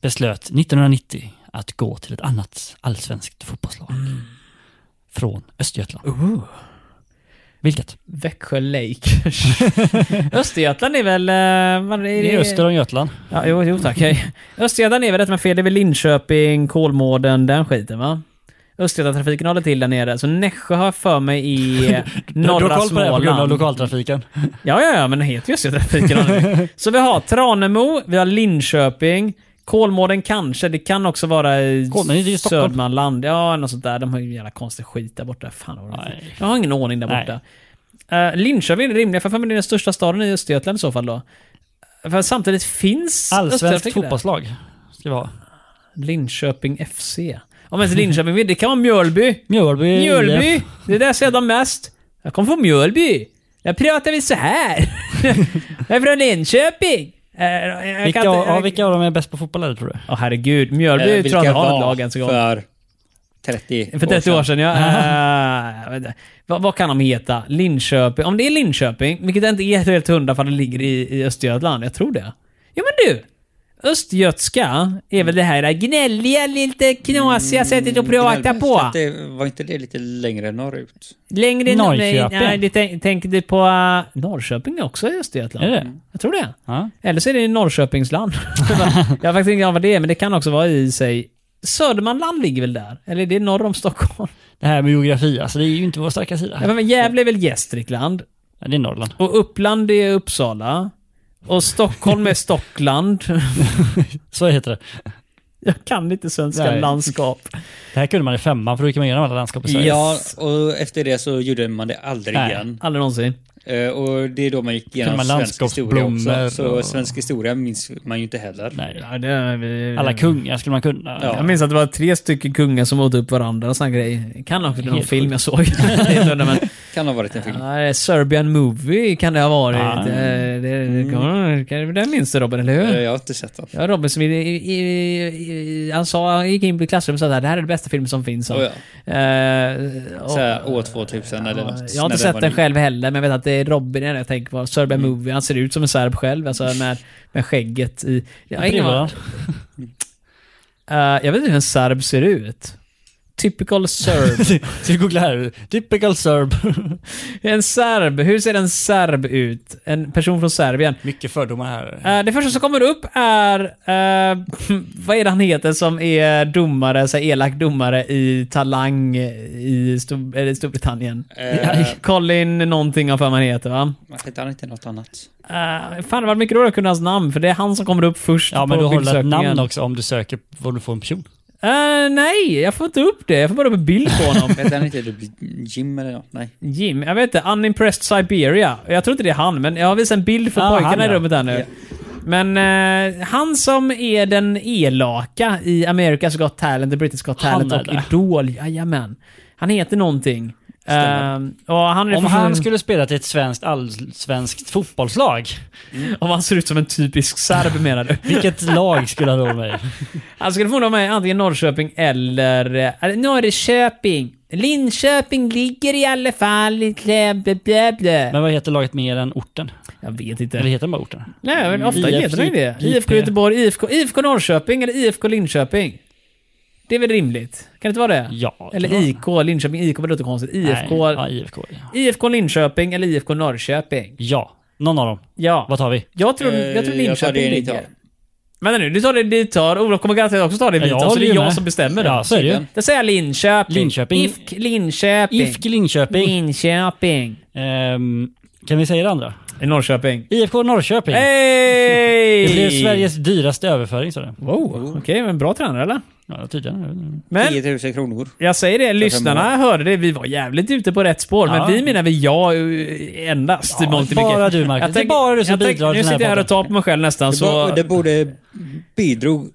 [SPEAKER 1] beslöt 1990 att gå till ett annat allsvenskt fotbollslag.
[SPEAKER 2] Mm.
[SPEAKER 1] Från Östergötland. Vilket? <laughs>
[SPEAKER 2] Växjö Lakers. Östergötland är väl... eh, vad är
[SPEAKER 1] Det är öster om Götland.
[SPEAKER 2] Ja, jo, jo tack. Hej. Östergötland är väl rätt med fel. Det är väl Linköping, Kolmården, den skiten va? Östgötatrafiken håller till där nere. Så Nässjö har jag för mig i eh,
[SPEAKER 1] <laughs> du har
[SPEAKER 2] norra
[SPEAKER 1] koll på det här på grund av
[SPEAKER 2] Småland.
[SPEAKER 1] lokaltrafiken.
[SPEAKER 2] Ja, ja, ja, men den heter ju Östgötatrafiken. har
[SPEAKER 1] <laughs>
[SPEAKER 2] den. så vi har Tranemo, vi har Linköping, Kolmården kanske, det kan också vara i
[SPEAKER 1] Kolmården är ju i Stockholm.
[SPEAKER 2] Södermanland. Ja, något sånt där. De har ju en jävla konstig skit där borta. Fan vad de har.
[SPEAKER 1] Nej.
[SPEAKER 2] Jag har ingen ordning där
[SPEAKER 1] Nej.
[SPEAKER 2] borta. Uh, Linköping är det rimliga, för jag har för mig det är den största staden i Östergötland i så fall då. Eh, För samtidigt finns
[SPEAKER 1] Allsvenskt
[SPEAKER 2] Östgötatrafiken där.
[SPEAKER 1] fotbollslag ska vi ha.
[SPEAKER 2] Linköping FC. Om ens Linköping vill, det kan vara Mjölby.
[SPEAKER 1] Mjölby.
[SPEAKER 2] Mjölby! Det är där jag ser dem mest. Jag kommer från Mjölby. Jag pratar vi så här. jag är från Linköping. Eh, Jag kan
[SPEAKER 1] Vilka,
[SPEAKER 2] inte-
[SPEAKER 1] ja, vilka av dem är bäst på fotboll är det, tror du?
[SPEAKER 2] Åh, herregud, Mjölby tror jag inte har något lag ens en gång.
[SPEAKER 4] Eh, för 30
[SPEAKER 2] För 30 år sedan, ja. Eh, jag vet inte. vad, vad kan de heta? Linköping? Om det är Linköping, vilket jag inte är helt hundra för det ligger i, i Östergötland. Jag tror det. Jo men du! Östgötska är väl det här gnälliga, lite knasiga sättet att prata
[SPEAKER 4] Gnällbäst,
[SPEAKER 2] på.
[SPEAKER 4] att Mm, Det, var inte det lite längre norrut?
[SPEAKER 2] Längre än
[SPEAKER 1] Norrköping.
[SPEAKER 2] Nej, det tänk, tänker du på... eh, Norrköping är också i Östergötland.
[SPEAKER 1] Är det?
[SPEAKER 2] Jag tror det.
[SPEAKER 1] Ja.
[SPEAKER 2] Eller så är det i Norrköpingsland. <laughs> jag har faktiskt ingen aning om vad det är, men det kan också vara i sig... Södermanland ligger väl där? Eller är det norr
[SPEAKER 1] <laughs>
[SPEAKER 2] om Stockholm?
[SPEAKER 1] Det här med geografi, alltså det är ju inte vår starka sida.
[SPEAKER 2] Ja, men Gävle är väl Gästrikland?
[SPEAKER 1] Ja, det är Norrland.
[SPEAKER 2] Och Uppland är Uppsala. Och Stockholm är Stockland. <laughs>
[SPEAKER 1] Så heter det.
[SPEAKER 2] jag kan inte svenska
[SPEAKER 1] Nej.
[SPEAKER 2] landskap.
[SPEAKER 1] Det här kunde man i femman, för då gick man igenom alla landskap i Sverige.
[SPEAKER 4] Ja, och efter det så gjorde man det aldrig
[SPEAKER 1] Nej.
[SPEAKER 4] igen.
[SPEAKER 2] Aldrig någonsin.
[SPEAKER 4] Eh, Och det är då man gick igenom
[SPEAKER 1] man
[SPEAKER 4] svensk historia
[SPEAKER 1] landskapsblommor
[SPEAKER 4] också. Så
[SPEAKER 1] och-
[SPEAKER 4] svensk historia minns man ju inte heller.
[SPEAKER 1] Nej. Alla
[SPEAKER 2] Alla
[SPEAKER 1] kungar skulle man kunna.
[SPEAKER 4] Ja.
[SPEAKER 2] Jag minns att det var tre stycken kungar som åt upp varandra och sån här grej. Kan också bli någon
[SPEAKER 1] Helt
[SPEAKER 2] film jag såg. <laughs> Det är inte, men,
[SPEAKER 4] Kan ha varit en film.
[SPEAKER 2] ja, Serbian Movie kan det ha varit.
[SPEAKER 1] Ah.
[SPEAKER 2] Ah. Det, det, det, kan- kan- det minns du Robin, eller
[SPEAKER 4] Mm. Eh,
[SPEAKER 2] hur?
[SPEAKER 4] Jag har inte sett den.
[SPEAKER 2] Ja, Robin som i, i, i, i, han sa, han gick in i klassrummet och sa att det här är den bästa filmen som finns.
[SPEAKER 4] Oh, ja.
[SPEAKER 2] Eh, och-
[SPEAKER 4] Så här, år 2000 eller något.
[SPEAKER 2] jag har inte
[SPEAKER 4] när
[SPEAKER 2] sett den
[SPEAKER 4] var ny. Mm.
[SPEAKER 2] själv heller, men jag vet att det är Robin jag tänker på. Serbian Movie, han ser ut som en serb själv.
[SPEAKER 4] <laughs>
[SPEAKER 2] Alltså med, med skägget i... Jag, har ingen aning.
[SPEAKER 1] <laughs> Brillorna.
[SPEAKER 2] Eh, jag vet inte hur en serb ser ut. Typical
[SPEAKER 4] <laughs>
[SPEAKER 2] serb.
[SPEAKER 1] Ska vi googla här? Typical serb.
[SPEAKER 2] En serb. Hur ser en serb ut? En person från Serbien.
[SPEAKER 1] Mycket fördomar här.
[SPEAKER 2] Eh, det första som kommer upp är... eh, <laughs> vad är det han heter som är domare, så här elak domare i Talang i Stor, eller Storbritannien?
[SPEAKER 4] Eh,
[SPEAKER 2] Colin någonting har för mig han heter va?
[SPEAKER 4] Hette han inte något annat?
[SPEAKER 2] Uh, fan, det var mycket roligare att kunna hans namn, för det är han som kommer upp först
[SPEAKER 1] Ja,
[SPEAKER 2] på
[SPEAKER 1] men du håller ett
[SPEAKER 2] bildsökningen.
[SPEAKER 1] namn också om du söker vad du får en person.
[SPEAKER 2] Eh, nej, jag får inte upp det. Jag får bara upp en bild på
[SPEAKER 1] <laughs>
[SPEAKER 2] honom.
[SPEAKER 4] Hette han inte Jim eller något? Nej.
[SPEAKER 2] Jim, jag vet inte. Unimpressed Siberia. Jag tror inte det är han, men jag har visat en bild för
[SPEAKER 1] Ah, han,
[SPEAKER 2] pojkarna i
[SPEAKER 1] ja.
[SPEAKER 2] rummet här nu.
[SPEAKER 4] Ja.
[SPEAKER 2] Men eh, han som är den elaka i America's Got Talent, The British Got
[SPEAKER 1] Han
[SPEAKER 2] Talent
[SPEAKER 1] är
[SPEAKER 2] och
[SPEAKER 1] där.
[SPEAKER 2] Idol. Jajamän. Han heter någonting. Uh, och han är
[SPEAKER 1] Om
[SPEAKER 2] från-
[SPEAKER 1] han skulle spela till ett svenskt allsvenskt fotbollslag,
[SPEAKER 2] om han ser ut som en typisk serb menar du? <laughs>
[SPEAKER 1] vilket lag skulle han då med?
[SPEAKER 2] Han skulle få med antingen Norrköping eller... eh, eller Norrköping. Linköping ligger i alla fall i... Blä, blä, blä, blä.
[SPEAKER 1] Men vad heter laget mer än orten?
[SPEAKER 2] Jag vet
[SPEAKER 1] Eller
[SPEAKER 2] inte.
[SPEAKER 1] heter den bara orten?
[SPEAKER 2] Nej, men ofta
[SPEAKER 1] IF,
[SPEAKER 2] heter det ju det.
[SPEAKER 1] IP.
[SPEAKER 2] IFK Göteborg, IFK, IFK Norrköping eller IFK Linköping. Det är väl rimligt? Kan det inte vara det?
[SPEAKER 1] Ja. det
[SPEAKER 2] Eller
[SPEAKER 1] var-
[SPEAKER 2] IK Linköping. IK blir lite konstigt. IFK,
[SPEAKER 1] Nej, ja, IFK. ja.
[SPEAKER 2] IFK Linköping eller IFK Norrköping.
[SPEAKER 1] Ja, någon av dem.
[SPEAKER 2] Ja.
[SPEAKER 1] Vad tar vi?
[SPEAKER 2] Jag tror,
[SPEAKER 4] Eh,
[SPEAKER 2] jag tror
[SPEAKER 4] jag tar det
[SPEAKER 2] Linköping
[SPEAKER 4] ni
[SPEAKER 2] ligger.
[SPEAKER 4] tar.
[SPEAKER 2] Vänta nu, du tar det dit tar. Olof kommer garanterat också ta det dit tar, så
[SPEAKER 1] håller
[SPEAKER 2] det
[SPEAKER 1] ju
[SPEAKER 2] är jag
[SPEAKER 1] med.
[SPEAKER 2] som bestämmer då.
[SPEAKER 1] Ja, så är det ju.
[SPEAKER 2] Då säger jag Linköping.
[SPEAKER 1] Linköping.
[SPEAKER 2] IFK Linköping.
[SPEAKER 1] IFK Linköping.
[SPEAKER 2] Linköping.
[SPEAKER 1] Ehm, kan vi säga det andra?
[SPEAKER 2] Norrköping.
[SPEAKER 1] IFK Norrköping.
[SPEAKER 2] Hej!
[SPEAKER 1] Det blev Sveriges dyraste överföring, så det.
[SPEAKER 2] Wow, okej, men bra tränare eller?
[SPEAKER 1] Ja, tydligen.
[SPEAKER 2] Men
[SPEAKER 4] 10 000 kronor.
[SPEAKER 2] jag säger det, lyssnarna hörde det, vi var jävligt ute på rätt spår,
[SPEAKER 1] Ja.
[SPEAKER 2] men vi menar väl jag eh, endast i
[SPEAKER 1] Ja,
[SPEAKER 2] mångt och
[SPEAKER 1] bara
[SPEAKER 2] mycket.
[SPEAKER 1] du, Marcus.
[SPEAKER 2] Jag
[SPEAKER 1] Det är bara du som
[SPEAKER 2] jag tänker-
[SPEAKER 1] bidrar till
[SPEAKER 2] Nu
[SPEAKER 1] den här
[SPEAKER 2] sitter jag här
[SPEAKER 1] podden.
[SPEAKER 2] och tar på mig själv nästan,
[SPEAKER 4] Det,
[SPEAKER 2] så...
[SPEAKER 4] var, det borde bidrog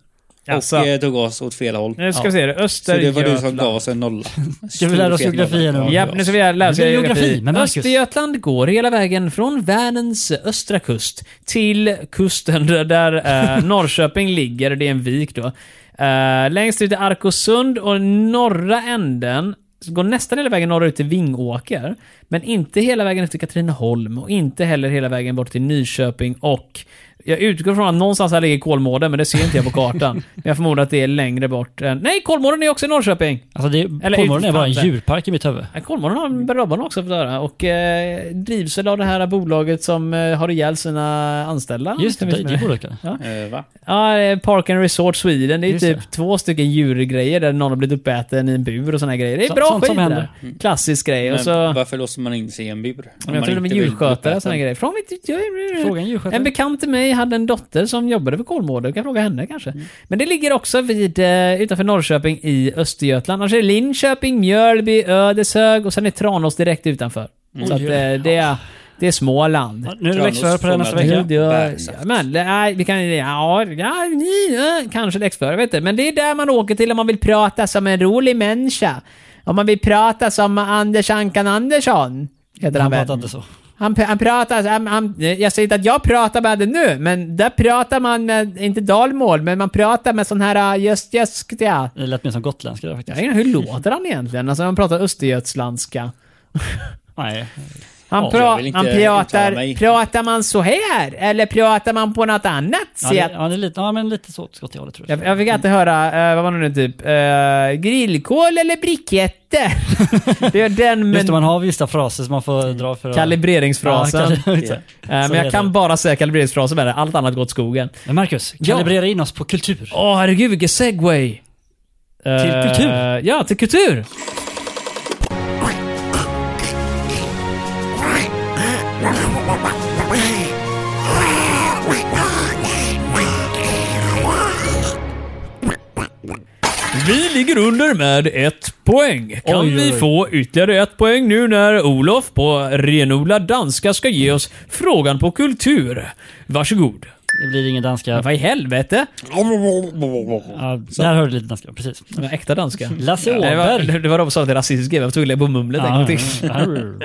[SPEAKER 4] och
[SPEAKER 2] Alltså.
[SPEAKER 4] eh, tog oss åt fel håll.
[SPEAKER 2] Nu ska vi se, det.
[SPEAKER 4] Så det var du som
[SPEAKER 2] Östergötland.
[SPEAKER 4] gav oss
[SPEAKER 2] <laughs>
[SPEAKER 4] en nolla.
[SPEAKER 1] Ska vi lära oss geografi nu?
[SPEAKER 2] Ja, nu ska vi lära oss
[SPEAKER 1] Det blir
[SPEAKER 2] geografi.
[SPEAKER 1] geografi med Marcus.
[SPEAKER 2] Östergötland går hela vägen från Vänerns östra kust till kusten där- där eh, Norrköping ligger. Det är en vik då. Eh, längst ut är Arkosund och norra änden går nästan hela vägen norrut till Vingåker. Men inte hela vägen upp till Katrineholm och inte heller hela vägen bort till Nyköping och Jag utgår från att någonstans här ligger Kolmården, men det ser inte jag på kartan. Men jag förmodar att det är längre bort än... Nej, Kolmården är också i Norrköping!
[SPEAKER 1] Alltså det,
[SPEAKER 2] Eller
[SPEAKER 1] Kolmården är bara en
[SPEAKER 2] utfall,
[SPEAKER 1] djurpark i mitt huvud.
[SPEAKER 2] Ja, Kolmården har en brödban också för det här. Och eh, drivs väl av det här bolaget som eh, har ihjäl sina anställda?
[SPEAKER 1] Just det,
[SPEAKER 2] Stämmer
[SPEAKER 1] det,
[SPEAKER 2] inte
[SPEAKER 1] det borde jag kunna.
[SPEAKER 4] Eh, va?
[SPEAKER 2] Ja, eh, Park and Resort Sweden. Det är ju
[SPEAKER 1] Just
[SPEAKER 2] typ
[SPEAKER 1] det.
[SPEAKER 2] två stycken djurgrejer där någon har blivit uppäten i en bur och såna här grejer. Det är
[SPEAKER 1] Så-
[SPEAKER 2] bra
[SPEAKER 1] sånt som
[SPEAKER 2] skit det
[SPEAKER 1] händer.
[SPEAKER 2] där. Klassisk grej.
[SPEAKER 4] Men
[SPEAKER 2] Och så,
[SPEAKER 4] varför låser man in sig i en bur? Om
[SPEAKER 2] men
[SPEAKER 4] man
[SPEAKER 2] jag tror de är
[SPEAKER 4] inte vill
[SPEAKER 2] djurskötare
[SPEAKER 4] uppäta.
[SPEAKER 2] och såna här grejer. Från mitt, jag,
[SPEAKER 1] Fråga en djurskötare.
[SPEAKER 2] Mm. en bekant till mig hade en dotter som jobbade för Kolmården. Du kan fråga henne kanske.
[SPEAKER 1] Mm.
[SPEAKER 2] Men det ligger också vid, eh, utanför Norrköping i Östergötland. Annars är det Linköping, Mjölby, Ödeshög och sen är Tranås direkt utanför.
[SPEAKER 1] Mm.
[SPEAKER 2] Så att, eh, det, är, det är Småland.
[SPEAKER 1] Ja, Nu är det läxor på det här nästa
[SPEAKER 4] Tranås
[SPEAKER 1] vecka.
[SPEAKER 4] fångar-
[SPEAKER 2] Nu dör
[SPEAKER 4] Bergsakt.
[SPEAKER 2] jag. Men, eh, nej, vi kan... Ja, ja, ni, ja, kanske läxförare, vet du. Men det är där man åker till om man vill prata som en rolig människa. Om man vill prata som Anders Ankan Andersson. Heter han,
[SPEAKER 1] Han
[SPEAKER 2] väl?
[SPEAKER 1] pratar inte så.
[SPEAKER 2] Han, han pratar... Han, han, jag säger inte att jag pratar med det nu, men där pratar man med, inte dalmål, men man pratar med sån här äh, just, just, ja.
[SPEAKER 1] Det lät mer som gotländska där
[SPEAKER 2] Jag
[SPEAKER 1] faktiskt.
[SPEAKER 2] vet inte, hur låter han egentligen? Alltså, han pratar östergötslandska.
[SPEAKER 1] Nej.
[SPEAKER 2] Han,
[SPEAKER 1] Ja,
[SPEAKER 2] pra-
[SPEAKER 4] jag vill inte
[SPEAKER 2] han
[SPEAKER 4] uttala
[SPEAKER 2] pratar,
[SPEAKER 4] mig.
[SPEAKER 2] pratar man så här? Eller pratar man på något annat
[SPEAKER 1] Ja, det,
[SPEAKER 2] sätt?
[SPEAKER 1] ja, det är lite, ja, men lite så åt hållet tror jag.
[SPEAKER 2] Jag, jag fick alltid höra, eh, vad var det nu typ, eh, grillkol eller briketter? <laughs> det är den
[SPEAKER 1] Just det, man
[SPEAKER 2] men
[SPEAKER 1] har vissa fraser som man får dra för att...
[SPEAKER 2] kalibreringsfrasen.
[SPEAKER 1] Ja,
[SPEAKER 2] <laughs>
[SPEAKER 1] kalib-
[SPEAKER 4] Ja.
[SPEAKER 2] Eh,
[SPEAKER 1] Så
[SPEAKER 2] men
[SPEAKER 1] är
[SPEAKER 2] jag kan
[SPEAKER 1] det.
[SPEAKER 2] bara säga kalibreringsfrasen med det, allt annat går åt skogen.
[SPEAKER 1] Men Marcus,
[SPEAKER 2] Ja.
[SPEAKER 1] kalibrera in oss på kultur.
[SPEAKER 2] Åh herregud vilken segway! Till
[SPEAKER 1] kultur.
[SPEAKER 2] Ja, till kultur! Vi ligger under med ett poäng. Kan
[SPEAKER 1] Oj, oj,
[SPEAKER 2] vi
[SPEAKER 1] oj.
[SPEAKER 2] få ytterligare ett poäng nu när Olof på renodlad danska ska ge oss frågan på kultur? Varsågod.
[SPEAKER 1] Det blir ingen danska.
[SPEAKER 2] Vad i helvete?
[SPEAKER 1] Ja, där hörde du lite danska, precis.
[SPEAKER 2] Det var äkta danska.
[SPEAKER 1] Lasse
[SPEAKER 2] Mm. det, var,
[SPEAKER 1] Åberg.
[SPEAKER 2] det, det var de som sa att det är rasistiskt, jag tog det på mumlet en gång till.
[SPEAKER 4] Mm.
[SPEAKER 2] <laughs>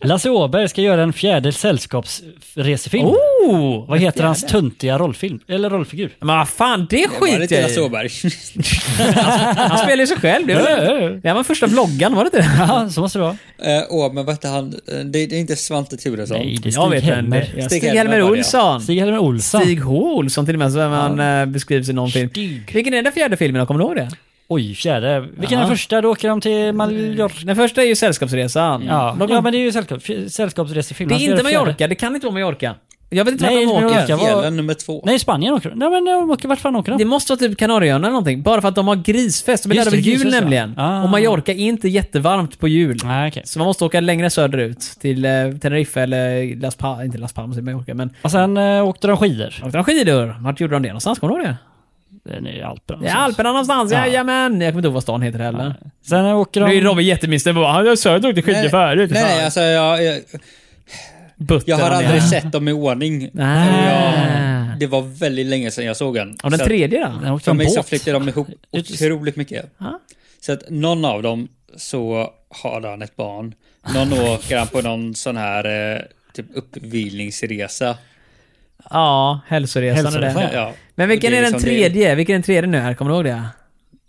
[SPEAKER 1] Lasse Åberg ska göra en fjärde sällskapsresefilm.
[SPEAKER 2] Oh!
[SPEAKER 1] Vad heter hans töntiga rollfilm? Eller rollfigur?
[SPEAKER 2] Men vad fan, det
[SPEAKER 4] Var det
[SPEAKER 2] skiter
[SPEAKER 4] inte
[SPEAKER 2] jag
[SPEAKER 4] Lasse
[SPEAKER 2] i.
[SPEAKER 4] Åberg? <laughs>
[SPEAKER 2] Han spelar ju sig själv. Det var, det var första vloggan, var det inte det?
[SPEAKER 1] Ja, så måste det vara.
[SPEAKER 4] Eh, Åh, men vad hette han? Eh, Det, det är inte Svante Turesson?
[SPEAKER 1] Nej, det är
[SPEAKER 2] Jag
[SPEAKER 1] Stig
[SPEAKER 2] vet inte.
[SPEAKER 1] Helmer.
[SPEAKER 2] Ja,
[SPEAKER 4] Stig
[SPEAKER 2] Stig-Helmer
[SPEAKER 4] Helmer var det, ja.
[SPEAKER 2] Olsson.
[SPEAKER 1] Stig-Helmer Olsson.
[SPEAKER 2] Stig H. Olsson till och med, som han eh, beskrivs i någon film.
[SPEAKER 1] Stig.
[SPEAKER 2] Vilken är den fjärde filmen då? Kommer du ihåg det?
[SPEAKER 1] Oj, fjärde. Vilken är
[SPEAKER 2] Ja. Mm.
[SPEAKER 1] den första? Då åker de till Mallorca.
[SPEAKER 2] Den första är ju Sällskapsresan.
[SPEAKER 1] Ja,
[SPEAKER 2] De-
[SPEAKER 1] ja, men det är ju sällskap, f- sällskapsresefilm.
[SPEAKER 2] det
[SPEAKER 1] Han
[SPEAKER 2] är
[SPEAKER 1] ska
[SPEAKER 2] inte
[SPEAKER 1] göra fjärde.
[SPEAKER 2] Mallorca, det kan inte vara Mallorca. Jag vet inte
[SPEAKER 1] Nej,
[SPEAKER 2] vart
[SPEAKER 1] men
[SPEAKER 2] de åker.
[SPEAKER 1] Mallorca.
[SPEAKER 4] Jävla
[SPEAKER 1] var-
[SPEAKER 4] nummer två.
[SPEAKER 1] Nej, Spanien åker de. Nej, men de åker, vart fan åker de?
[SPEAKER 2] Det måste vara typ Kanarieöarna eller någonting. Bara för att de har grisfest. De är
[SPEAKER 1] Just
[SPEAKER 2] där
[SPEAKER 1] det,
[SPEAKER 2] över jul
[SPEAKER 1] grisfest, ja.
[SPEAKER 2] nämligen.
[SPEAKER 1] Ah.
[SPEAKER 2] Och Mallorca är inte jättevarmt på jul.
[SPEAKER 1] Nej, okej.
[SPEAKER 2] Så man måste åka längre söderut. Till eh, Teneriffa eller Las Palmas. Inte Las Palmas, det är Mallorca. Men
[SPEAKER 1] Och sen eh, åkte de skidor.
[SPEAKER 2] åkte de skidor? Vart gjorde de det någonstans? Kommer du ihåg det?
[SPEAKER 1] Den är i Alperna.
[SPEAKER 2] I Alperna någonstans,
[SPEAKER 1] Ja.
[SPEAKER 2] jajamän! Jag kommer inte ihåg vad stan heter heller.
[SPEAKER 1] Sen åker de...
[SPEAKER 2] Nu är Robin jättemisstänkt. Han har sökt och åkte skidor
[SPEAKER 4] Nej,
[SPEAKER 2] förut.
[SPEAKER 4] nej, nej, alltså jag, jag, jag har aldrig sett dem i ordning.
[SPEAKER 2] Ah. Nej.
[SPEAKER 4] Jag, det var väldigt länge sedan jag såg den.
[SPEAKER 2] Och den
[SPEAKER 4] Så att-
[SPEAKER 2] tredje då?
[SPEAKER 1] Den åkte
[SPEAKER 4] För
[SPEAKER 1] de
[SPEAKER 4] mig så
[SPEAKER 1] båt.
[SPEAKER 4] flyttar
[SPEAKER 2] <laughs>
[SPEAKER 4] de ihop otroligt mycket.
[SPEAKER 2] Ja.
[SPEAKER 4] Så att någon av dem så har han ett barn. Någon åker han på någon sån här eh, typ uppvilningsresa.
[SPEAKER 2] Ja, hälsoresan och
[SPEAKER 1] Hälsoresan,
[SPEAKER 2] det.
[SPEAKER 1] Ja.
[SPEAKER 4] Ja.
[SPEAKER 2] Men vilken
[SPEAKER 4] Det
[SPEAKER 2] är den
[SPEAKER 4] liksom det-
[SPEAKER 2] tredje? Vilken är den tredje nu här? Kommer du ihåg det?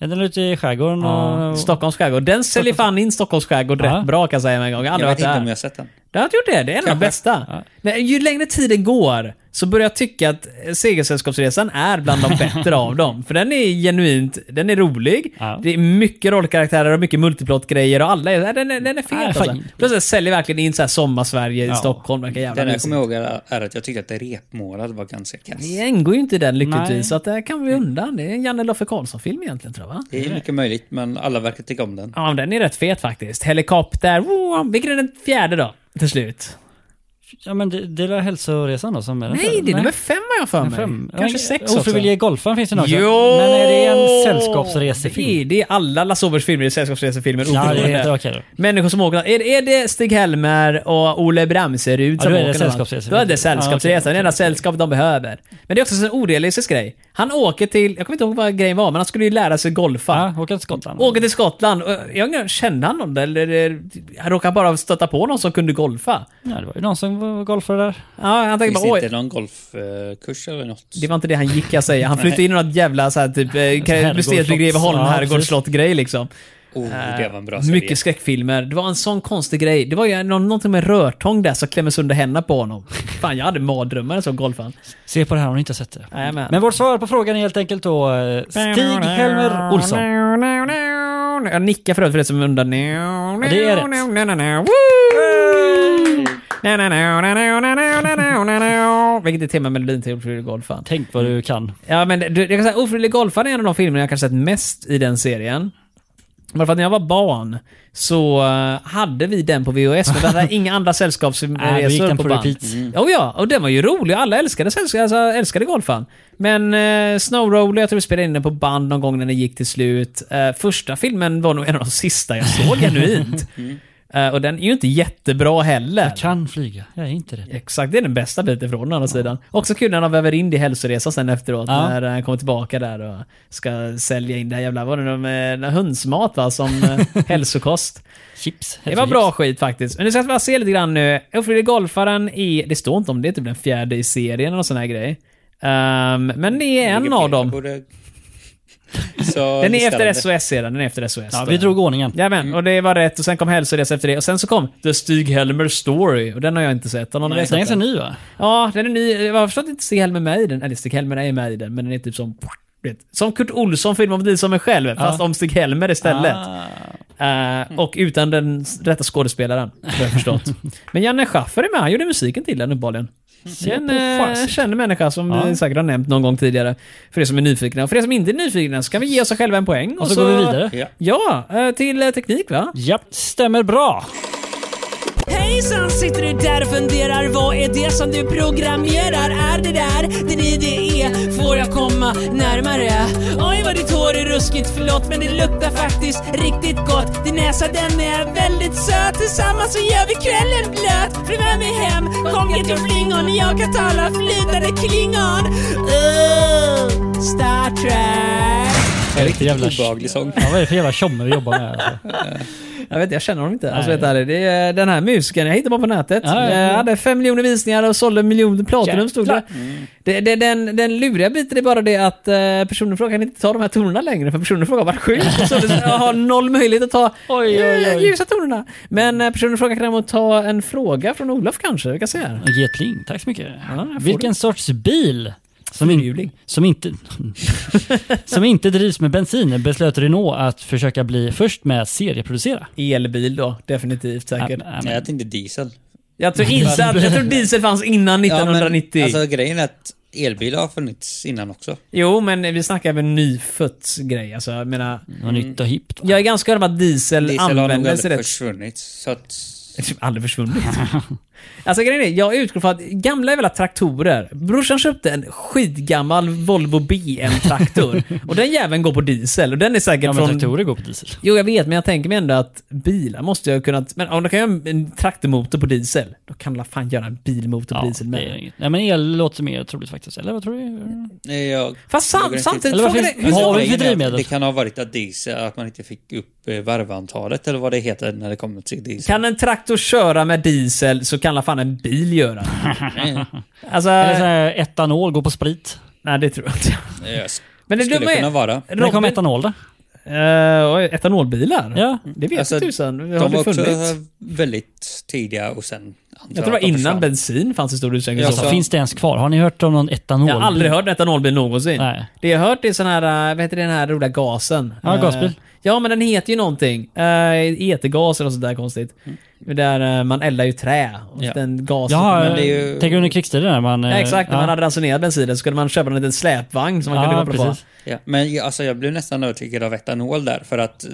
[SPEAKER 1] Ja, Den är ute i skärgården
[SPEAKER 2] Ja.
[SPEAKER 1] och...
[SPEAKER 2] Stockholms skärgård. Den säljer fan in Stockholms skärgård
[SPEAKER 1] Ja.
[SPEAKER 2] rätt bra kan jag säga med en gång. Jag har
[SPEAKER 4] Jag
[SPEAKER 2] aldrig
[SPEAKER 4] vet
[SPEAKER 2] varit
[SPEAKER 4] inte om jag
[SPEAKER 2] där.
[SPEAKER 4] har sett den.
[SPEAKER 2] Jag har inte gjort det. Det är en av de
[SPEAKER 4] Kanske.
[SPEAKER 2] bästa.
[SPEAKER 1] Ja.
[SPEAKER 2] Men ju längre tiden går så börjar jag tycka att Segelsällskapsresan är bland
[SPEAKER 1] <laughs>
[SPEAKER 2] de bättre av dem. För den är genuint, den är rolig.
[SPEAKER 1] Ja.
[SPEAKER 2] Det är mycket rollkaraktärer och mycket multiplot-grejer och alla är, den, är- den är fet
[SPEAKER 1] Ja,
[SPEAKER 2] alltså.
[SPEAKER 1] fan.
[SPEAKER 2] Plus den säljer verkligen in så här sommarsverige
[SPEAKER 1] Ja.
[SPEAKER 2] i Stockholm. Verkar jävla
[SPEAKER 4] Den jag
[SPEAKER 2] mysigt.
[SPEAKER 4] kommer ihåg är, är att jag tyckte att det repmålade var ganska kass.
[SPEAKER 2] Det ingår ju inte i den
[SPEAKER 1] Nej.
[SPEAKER 2] lyckligtvis, så att det här kan vi undan. Det är en Janne Loffe Karlsson-film egentligen tror jag va?
[SPEAKER 4] Det är mycket möjligt, men alla verkar tycka om den.
[SPEAKER 2] Ja, men den är rätt fet faktiskt. Helikopter, wow, vilken är den fjärde då? Till slut.
[SPEAKER 1] Ja, men det, det är väl hälsoresan då som är den
[SPEAKER 2] Nej, det är nummer fem har jag för mig.
[SPEAKER 1] Fem.
[SPEAKER 2] Kanske
[SPEAKER 1] Ja,
[SPEAKER 2] sex också.
[SPEAKER 1] Ofrivillige golfaren finns det nog också.
[SPEAKER 2] Jo!
[SPEAKER 1] Men är det en sällskapsresefilm?
[SPEAKER 2] Det är, det är alla Lasse Åbergs filmer i sällskapsresefilmer.
[SPEAKER 1] Ja, det är
[SPEAKER 2] oberoende.
[SPEAKER 1] helt okej då.
[SPEAKER 2] Människor som åker... Är, är det Stig-Helmer och Ole Bramserud
[SPEAKER 1] Ja,
[SPEAKER 2] som
[SPEAKER 1] då är
[SPEAKER 2] åker
[SPEAKER 1] det
[SPEAKER 2] någonstans?
[SPEAKER 1] sällskapsresor.
[SPEAKER 2] Då är det
[SPEAKER 1] Ja, typ.
[SPEAKER 2] sällskapsresan.
[SPEAKER 1] okej,
[SPEAKER 2] det enda sällskap de behöver. Men det är också en orealistisk grej. Han åker till... Jag kommer inte ihåg vad grejen var, men han skulle ju lära sig golfa.
[SPEAKER 1] Ja, åka till Skottland.
[SPEAKER 2] Åker till Skottland. och Jag undrar, kände han någon där? eller eller- Han råkade bara stöta på någon som kunde golfa.
[SPEAKER 1] Ja, det var ju någon som var golfare där.
[SPEAKER 2] Ja, han tänkte
[SPEAKER 4] Finns
[SPEAKER 2] bara,
[SPEAKER 4] det inte
[SPEAKER 2] oj.
[SPEAKER 4] någon golfkurs eller något?
[SPEAKER 2] Det var inte det han gick, jag säger. Han flyttade in i något jävla så här, typ, eh,
[SPEAKER 1] Herrgårdsslott.
[SPEAKER 2] museet vid Greveholm,
[SPEAKER 1] Ja,
[SPEAKER 2] herrgårdsslott-grej liksom.
[SPEAKER 4] Oh, det var en bra serie.
[SPEAKER 2] Mycket skräckfilmer. Det var en sån konstig grej. Det var ju någon, någonting med rörtång där som klämmer sönder händerna på honom. Fan, jag hade mardrömmar som golfan.
[SPEAKER 1] Se på det här om ni inte har sett det.
[SPEAKER 2] Jajamän.
[SPEAKER 1] Men vårt svar på frågan är helt enkelt då eh, Stig-Helmer Olsson.
[SPEAKER 2] Jag nickar för övrigt för det som undrar.
[SPEAKER 1] Ja, det är rätt.
[SPEAKER 2] rätt. Vilket är temamelodin till Ofrivillig golfan.
[SPEAKER 1] Tänk vad du kan.
[SPEAKER 2] Ja, men det- du, jag kan säga Ofrivillig golfan är en av de filmer jag kanske sett mest i den serien. Bara för att när jag var barn så eh, hade vi den på VHS, men vi hade
[SPEAKER 1] <laughs>
[SPEAKER 2] inga
[SPEAKER 1] Nej,
[SPEAKER 2] andra
[SPEAKER 1] Äh, då gick
[SPEAKER 2] sällskapsresor
[SPEAKER 1] den
[SPEAKER 2] på
[SPEAKER 1] på
[SPEAKER 2] band.
[SPEAKER 1] repeat.
[SPEAKER 2] Oh ja, och den var ju rolig. Alla älskade sällskap, alltså, älskade golfan. Men eh, Snow Roller, jag tror vi spelade in den på band någon gång när den gick till slut. Eh, första filmen var nog en av de sista jag såg genuint.
[SPEAKER 1] <laughs>
[SPEAKER 2] Eh, och den är ju inte jättebra heller.
[SPEAKER 1] Mm. Jag kan flyga. Jag är inte det.
[SPEAKER 2] Exakt, det är den bästa biten från den andra sidan. Också kul när de väver in det i hälsoresan sen efteråt,
[SPEAKER 1] Ja.
[SPEAKER 2] när han kommer tillbaka där och ska sälja in det här jävla, vad är det de, eh, hönsmat va, som
[SPEAKER 1] <laughs>
[SPEAKER 2] eh, hälsokost.
[SPEAKER 1] Chips.
[SPEAKER 2] Det var bra skit faktiskt. Men nu ska vi bara se lite grann nu. Ofrivillig golfaren i, det står inte om det är typ den fjärde i serien eller någon sån här grej. Ehm, men det är en av dem. <laughs>
[SPEAKER 4] Borde... Så
[SPEAKER 2] Den är
[SPEAKER 4] beställande.
[SPEAKER 2] efter SOS sedan, den är efter SOS.
[SPEAKER 1] Ja, vi drog ordningen.
[SPEAKER 2] Jajamän, och det var rätt och sen kom hälsoresa efter det och sen så kom The Stig-Helmer Story och den har jag inte sett. Har någon av er
[SPEAKER 1] Den är
[SPEAKER 2] sett
[SPEAKER 1] ganska ny va?
[SPEAKER 2] Ja, den är ny. Jag har förstått att inte Stig-Helmer är med i den. Eller Stig-Helmer är med i den, men den är typ som... du Vet, som Kurt Olsson filmar om dig som mig själv, fast om Stig-Helmer istället.
[SPEAKER 1] Ah.
[SPEAKER 2] Eh, och utan den rätta skådespelaren, har jag
[SPEAKER 1] <laughs>
[SPEAKER 2] förstått. men Janne Schaffer är med, han gjorde musiken till den uppenbarligen. En
[SPEAKER 1] Mm. på
[SPEAKER 2] eh,
[SPEAKER 1] fasen.
[SPEAKER 2] känd människa som vi säkert har nämnt någon gång tidigare. För er som är nyfikna. Och för er som inte är nyfikna så kan vi ge oss själva en poäng.
[SPEAKER 1] Och så går vi vidare.
[SPEAKER 4] Ja.
[SPEAKER 2] Ja, eh, till eh, teknik va?
[SPEAKER 1] Japp, stämmer bra.
[SPEAKER 6] Hejsan, sitter du där och funderar? Vad är det som du programmerar? Är det där din idé? Får jag komma närmare? Oj, vad ditt hår är ruskigt, förlåt, men det luktar faktiskt riktigt gott. Din näsa, den är väldigt söt. Tillsammans så gör vi kvällen blöt. Följ med mig hem, kom get your flingon. Jag kan tala flytande klingon. Uh, Star Trek.
[SPEAKER 1] Vad är det för
[SPEAKER 4] Riktigt
[SPEAKER 1] jävla-
[SPEAKER 4] obehaglig sång.
[SPEAKER 1] Ja, vad är det för jävla tjomme vi jobbar med?
[SPEAKER 2] <laughs>
[SPEAKER 1] Alltså?
[SPEAKER 2] Jag vet jag känner honom inte. Alltså,
[SPEAKER 1] Nej.
[SPEAKER 2] vet jag, det är den här musikern, jag hittade bara på nätet.
[SPEAKER 1] Ja, ja, ja.
[SPEAKER 2] Jag hade fem miljoner visningar och sålde en miljon platinum stod det.
[SPEAKER 1] Mm.
[SPEAKER 2] det, det den, den luriga biten är bara det att eh, personen i fråga kan inte ta de här tonerna längre, för personen i fråga var sjuk. och Så det- jag har noll möjlighet att ta
[SPEAKER 1] <laughs> Oj, oj, oj.
[SPEAKER 2] eh, ljusa tonerna. Men eh, personen i fråga kan däremot ta en fråga från Olof kanske, vi kan se här.
[SPEAKER 1] Ge ett pling, tack så mycket.
[SPEAKER 2] får
[SPEAKER 1] Vilken sorts bil som, in, som,
[SPEAKER 2] <laughs>
[SPEAKER 1] inte, som inte drivs med bensin beslöt Renault att försöka bli först med att serieproducera?
[SPEAKER 2] Elbil då, definitivt säkert.
[SPEAKER 1] Ja,
[SPEAKER 4] Nej,
[SPEAKER 1] men-
[SPEAKER 4] jag tänkte diesel.
[SPEAKER 2] Jag tror inte att, jag tror diesel fanns innan
[SPEAKER 4] Ja, men,
[SPEAKER 2] 1990.
[SPEAKER 4] alltså grejen är att elbilar har funnits innan också.
[SPEAKER 2] Jo, men vi snackar väl nyfött grej. Alltså, jag menar,
[SPEAKER 4] mm.
[SPEAKER 1] Något nytt och hippt. va?
[SPEAKER 2] Jag är ganska övertygad om att diesel,
[SPEAKER 4] Diesel har nog
[SPEAKER 2] användes i <laughs>
[SPEAKER 4] aldrig
[SPEAKER 2] rätt...
[SPEAKER 4] försvunnit. Så att...
[SPEAKER 2] Typ
[SPEAKER 1] <laughs>
[SPEAKER 2] aldrig försvunnit. alltså grejen är, jag utgår från att gamla jävla traktorer. Brorsan köpte en skitgammal
[SPEAKER 1] <laughs>
[SPEAKER 2] Volvo BM-traktor. och den jäveln går på diesel. Och den är säkert
[SPEAKER 1] Ja, men
[SPEAKER 2] från...
[SPEAKER 1] traktorer går på diesel.
[SPEAKER 2] Jo, jag vet, men jag tänker mig ändå att bilar måste jag ha kunnat... Men om du kan göra en- en traktormotor på diesel, då kan man fan göra en bilmotor på
[SPEAKER 1] Ja,
[SPEAKER 2] diesel
[SPEAKER 1] det är
[SPEAKER 2] med.
[SPEAKER 1] inget. Nej, men el låter mer troligt faktiskt. Eller vad tror du?
[SPEAKER 4] Nej, eh, jag...
[SPEAKER 2] Fast sam,
[SPEAKER 4] Eller
[SPEAKER 2] samtidigt,
[SPEAKER 1] varför-
[SPEAKER 2] frågan är... Hur
[SPEAKER 1] Vad har
[SPEAKER 2] stor...
[SPEAKER 1] vi för
[SPEAKER 4] Grejen är att
[SPEAKER 1] drivmedel?
[SPEAKER 4] Det kan ha varit att diesel, att man inte fick upp eh, varvantalet eller vad det heter när det kommer till diesel.
[SPEAKER 2] Kan en traktor köra med diesel så kan la fan en bil göra. alltså...
[SPEAKER 1] Eller så här, etanol går på sprit.
[SPEAKER 2] Nej, det tror jag inte. <laughs>
[SPEAKER 4] Jag sk-
[SPEAKER 2] Men det
[SPEAKER 4] skulle
[SPEAKER 2] dumma är-
[SPEAKER 4] kunna vara.
[SPEAKER 1] När det kom
[SPEAKER 2] Robin-
[SPEAKER 1] etanol då?
[SPEAKER 2] Eh, oj, etanolbilar?
[SPEAKER 1] Ja.
[SPEAKER 2] Det vet
[SPEAKER 4] Alltså,
[SPEAKER 2] jag tusan. Det har
[SPEAKER 4] De var
[SPEAKER 2] aldrig
[SPEAKER 4] också
[SPEAKER 2] funnits.
[SPEAKER 4] väldigt tidiga och sen...
[SPEAKER 2] Jag
[SPEAKER 4] antar
[SPEAKER 2] tror det
[SPEAKER 4] att
[SPEAKER 2] var
[SPEAKER 4] de
[SPEAKER 2] innan
[SPEAKER 4] försvann.
[SPEAKER 2] bensin fanns i stor utsträckning.
[SPEAKER 4] Ja,
[SPEAKER 2] i så
[SPEAKER 4] så-
[SPEAKER 2] fall.
[SPEAKER 1] Finns det ens kvar? Har ni hört om någon etanol?
[SPEAKER 2] jag har aldrig hört en etanolbil någonsin.
[SPEAKER 1] Nej.
[SPEAKER 4] Alltså,
[SPEAKER 2] Det jag har hört är sån här, eh, vad heter den här roliga gasen?
[SPEAKER 1] Ja,
[SPEAKER 2] Eh,
[SPEAKER 1] gasbil.
[SPEAKER 2] Ja, men den heter ju någonting. Uh, etergas eller sånt där konstigt. Där eh, man eldar ju trä. Och
[SPEAKER 4] Mm. Ja.
[SPEAKER 2] den gasen.
[SPEAKER 1] Ja,
[SPEAKER 4] Men det är ju-
[SPEAKER 1] tänker du under krigstiden när man... eh,
[SPEAKER 2] Ja, exakt, när man hade ransonerat bensinen så kunde man köpa en liten släpvagn som man kunde
[SPEAKER 1] Ja,
[SPEAKER 2] koppla
[SPEAKER 1] precis.
[SPEAKER 4] Ja, men jag, alltså, jag blev nästan övertygad av etanol där för att...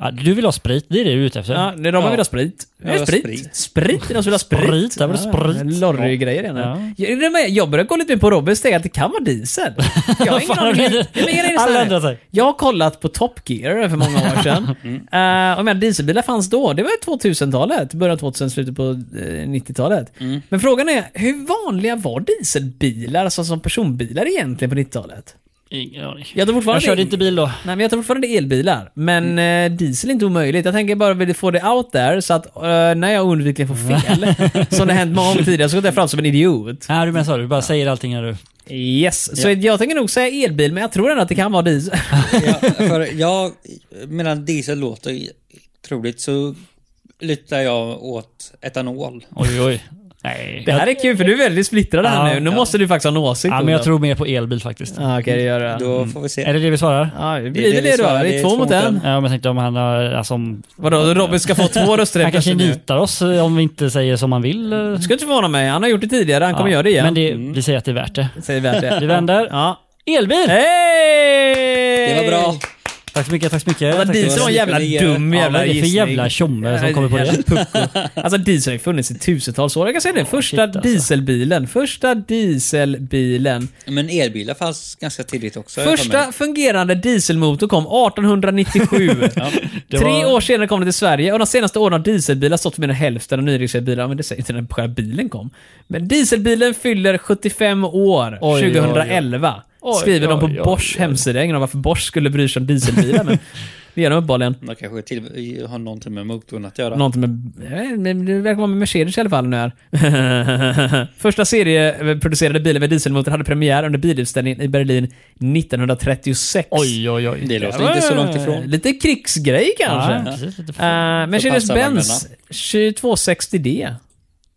[SPEAKER 1] Ja, du vill ha sprit, det är det du är ute efter.
[SPEAKER 2] på. Ja, det är de
[SPEAKER 4] Ja.
[SPEAKER 2] vill ha sprit.
[SPEAKER 4] Ja,
[SPEAKER 2] Ja, sprit. sprit.
[SPEAKER 4] sprit.
[SPEAKER 2] Sprit, är de som vill ha sprit.
[SPEAKER 1] Sprit, där var det sprit.
[SPEAKER 2] Lorry-grejer igen.
[SPEAKER 1] Ja.
[SPEAKER 2] Jag, det med- jag börjar kolla lite mer på Robins steg att det kan vara diesel.
[SPEAKER 1] <laughs>
[SPEAKER 2] Jag har ingen
[SPEAKER 1] Fan,
[SPEAKER 2] aning.
[SPEAKER 1] det-
[SPEAKER 2] Nej, men grejen är så
[SPEAKER 1] alla
[SPEAKER 2] här.
[SPEAKER 1] ändrar sig.
[SPEAKER 2] Jag har kollat på Top Gear för många
[SPEAKER 1] <laughs>
[SPEAKER 2] år sedan. Eh, och men dieselbilar fanns då. Det var ju 2000-talet. Början av 2000, slutet på eh, 90-talet.
[SPEAKER 1] Mm.
[SPEAKER 2] Men frågan är, hur vanliga var dieselbilar, alltså som personbilar egentligen på 90-talet?
[SPEAKER 1] Ingen aning.
[SPEAKER 2] Jag tror fortfarande...
[SPEAKER 1] Jag körde inte bil då.
[SPEAKER 2] Nej, men jag tror fortfarande elbilar. Men eh, diesel är inte omöjligt. Jag tänker bara vill få det out där så att eh, när jag oundvikligen får fel, <laughs> som det hänt många gånger tidigare, så går jag fram som en idiot.
[SPEAKER 1] Nej, du menar så. Du bara säger allting när du...
[SPEAKER 2] Yes, så jag tänker nog säga elbil, men jag tror ändå att det kan vara diesel.
[SPEAKER 4] Ja, för jag, medan diesel låter troligt så lutar jag åt etanol.
[SPEAKER 1] Oj, oj. Nej.
[SPEAKER 2] Det här är kul för du är väldigt splittrad här
[SPEAKER 1] Ja,
[SPEAKER 2] nu. Nu måste du faktiskt ha en åsikt.
[SPEAKER 1] ja, men
[SPEAKER 2] Olof.
[SPEAKER 1] jag tror mer på elbil faktiskt.
[SPEAKER 2] Ja, okej, det gör du.
[SPEAKER 4] Då
[SPEAKER 1] Mm.
[SPEAKER 4] får vi se.
[SPEAKER 1] Är det det vi svarar? Ja,
[SPEAKER 2] Ja, det blir väl det då.
[SPEAKER 4] svarar.
[SPEAKER 2] Det är två mot en.
[SPEAKER 1] men jag tänkte om han har... Alltså, om,
[SPEAKER 2] Vadå, Robin ska få två röster
[SPEAKER 1] han kanske
[SPEAKER 2] nu.
[SPEAKER 1] nitar oss eh, om vi inte säger som han vill. eh.
[SPEAKER 2] Ska inte förvåna mig. Han har gjort det tidigare. Han kommer
[SPEAKER 1] Ja,
[SPEAKER 2] göra det igen.
[SPEAKER 1] Men det, vi säger att det är värt det.
[SPEAKER 2] Säger vi att det.
[SPEAKER 1] Vi vänder.
[SPEAKER 2] Ja.
[SPEAKER 1] Elbil!
[SPEAKER 2] Hej!
[SPEAKER 4] Det var bra.
[SPEAKER 1] Tack så mycket, tack så mycket.
[SPEAKER 2] Ja,
[SPEAKER 1] Tack så
[SPEAKER 2] diesel
[SPEAKER 1] mycket.
[SPEAKER 2] var en jävla
[SPEAKER 4] det-
[SPEAKER 2] dum
[SPEAKER 1] Ja,
[SPEAKER 2] jävla
[SPEAKER 1] vad Alltså, är det för
[SPEAKER 2] gissning.
[SPEAKER 1] jävla tjomme som
[SPEAKER 2] Ja,
[SPEAKER 1] kommer på
[SPEAKER 2] jävla
[SPEAKER 1] det?
[SPEAKER 2] pucko. Alltså diesel har ju funnits i tusentals år. Jag kan säga det. Första
[SPEAKER 1] shit, alltså.
[SPEAKER 2] dieselbilen. Första dieselbilen.
[SPEAKER 4] Men elbilar fanns ganska tidigt också. har jag för
[SPEAKER 2] Första
[SPEAKER 4] mig.
[SPEAKER 2] fungerande dieselmotor
[SPEAKER 1] <laughs>
[SPEAKER 2] kom 1897.
[SPEAKER 1] Det
[SPEAKER 2] Tre
[SPEAKER 1] var-
[SPEAKER 2] år senare kom det till Sverige och de senaste åren har dieselbilar stått för mer än hälften av nyregistrerade bilar. Men det säger inte när själva bilen kom. Men dieselbilen fyller 75 år
[SPEAKER 1] Oj, oj, oj.
[SPEAKER 2] 2011.
[SPEAKER 1] Oj,
[SPEAKER 2] skriver de på
[SPEAKER 1] oj, oj,
[SPEAKER 2] Bosch
[SPEAKER 1] oj.
[SPEAKER 2] hemsida. Jag har ingen aning varför Bosch skulle bry sig om
[SPEAKER 1] <laughs>
[SPEAKER 2] dieselbilar, men det gör de uppenbarligen.
[SPEAKER 4] De kanske till, har någonting med motorn att göra.
[SPEAKER 2] Någonting med... eh, men Det verkar vara med Mercedes i alla fall nu här. <laughs> Första serieproducerade bilen med dieselmotor hade premiär under bilutställningen i Berlin 1936.
[SPEAKER 1] Oj, oj, oj.
[SPEAKER 4] Det låter inte så långt ifrån.
[SPEAKER 2] Lite krigsgrej kanske.
[SPEAKER 1] Ja, precis. Lite f-
[SPEAKER 2] Eh, Mercedes-Benz 2260D.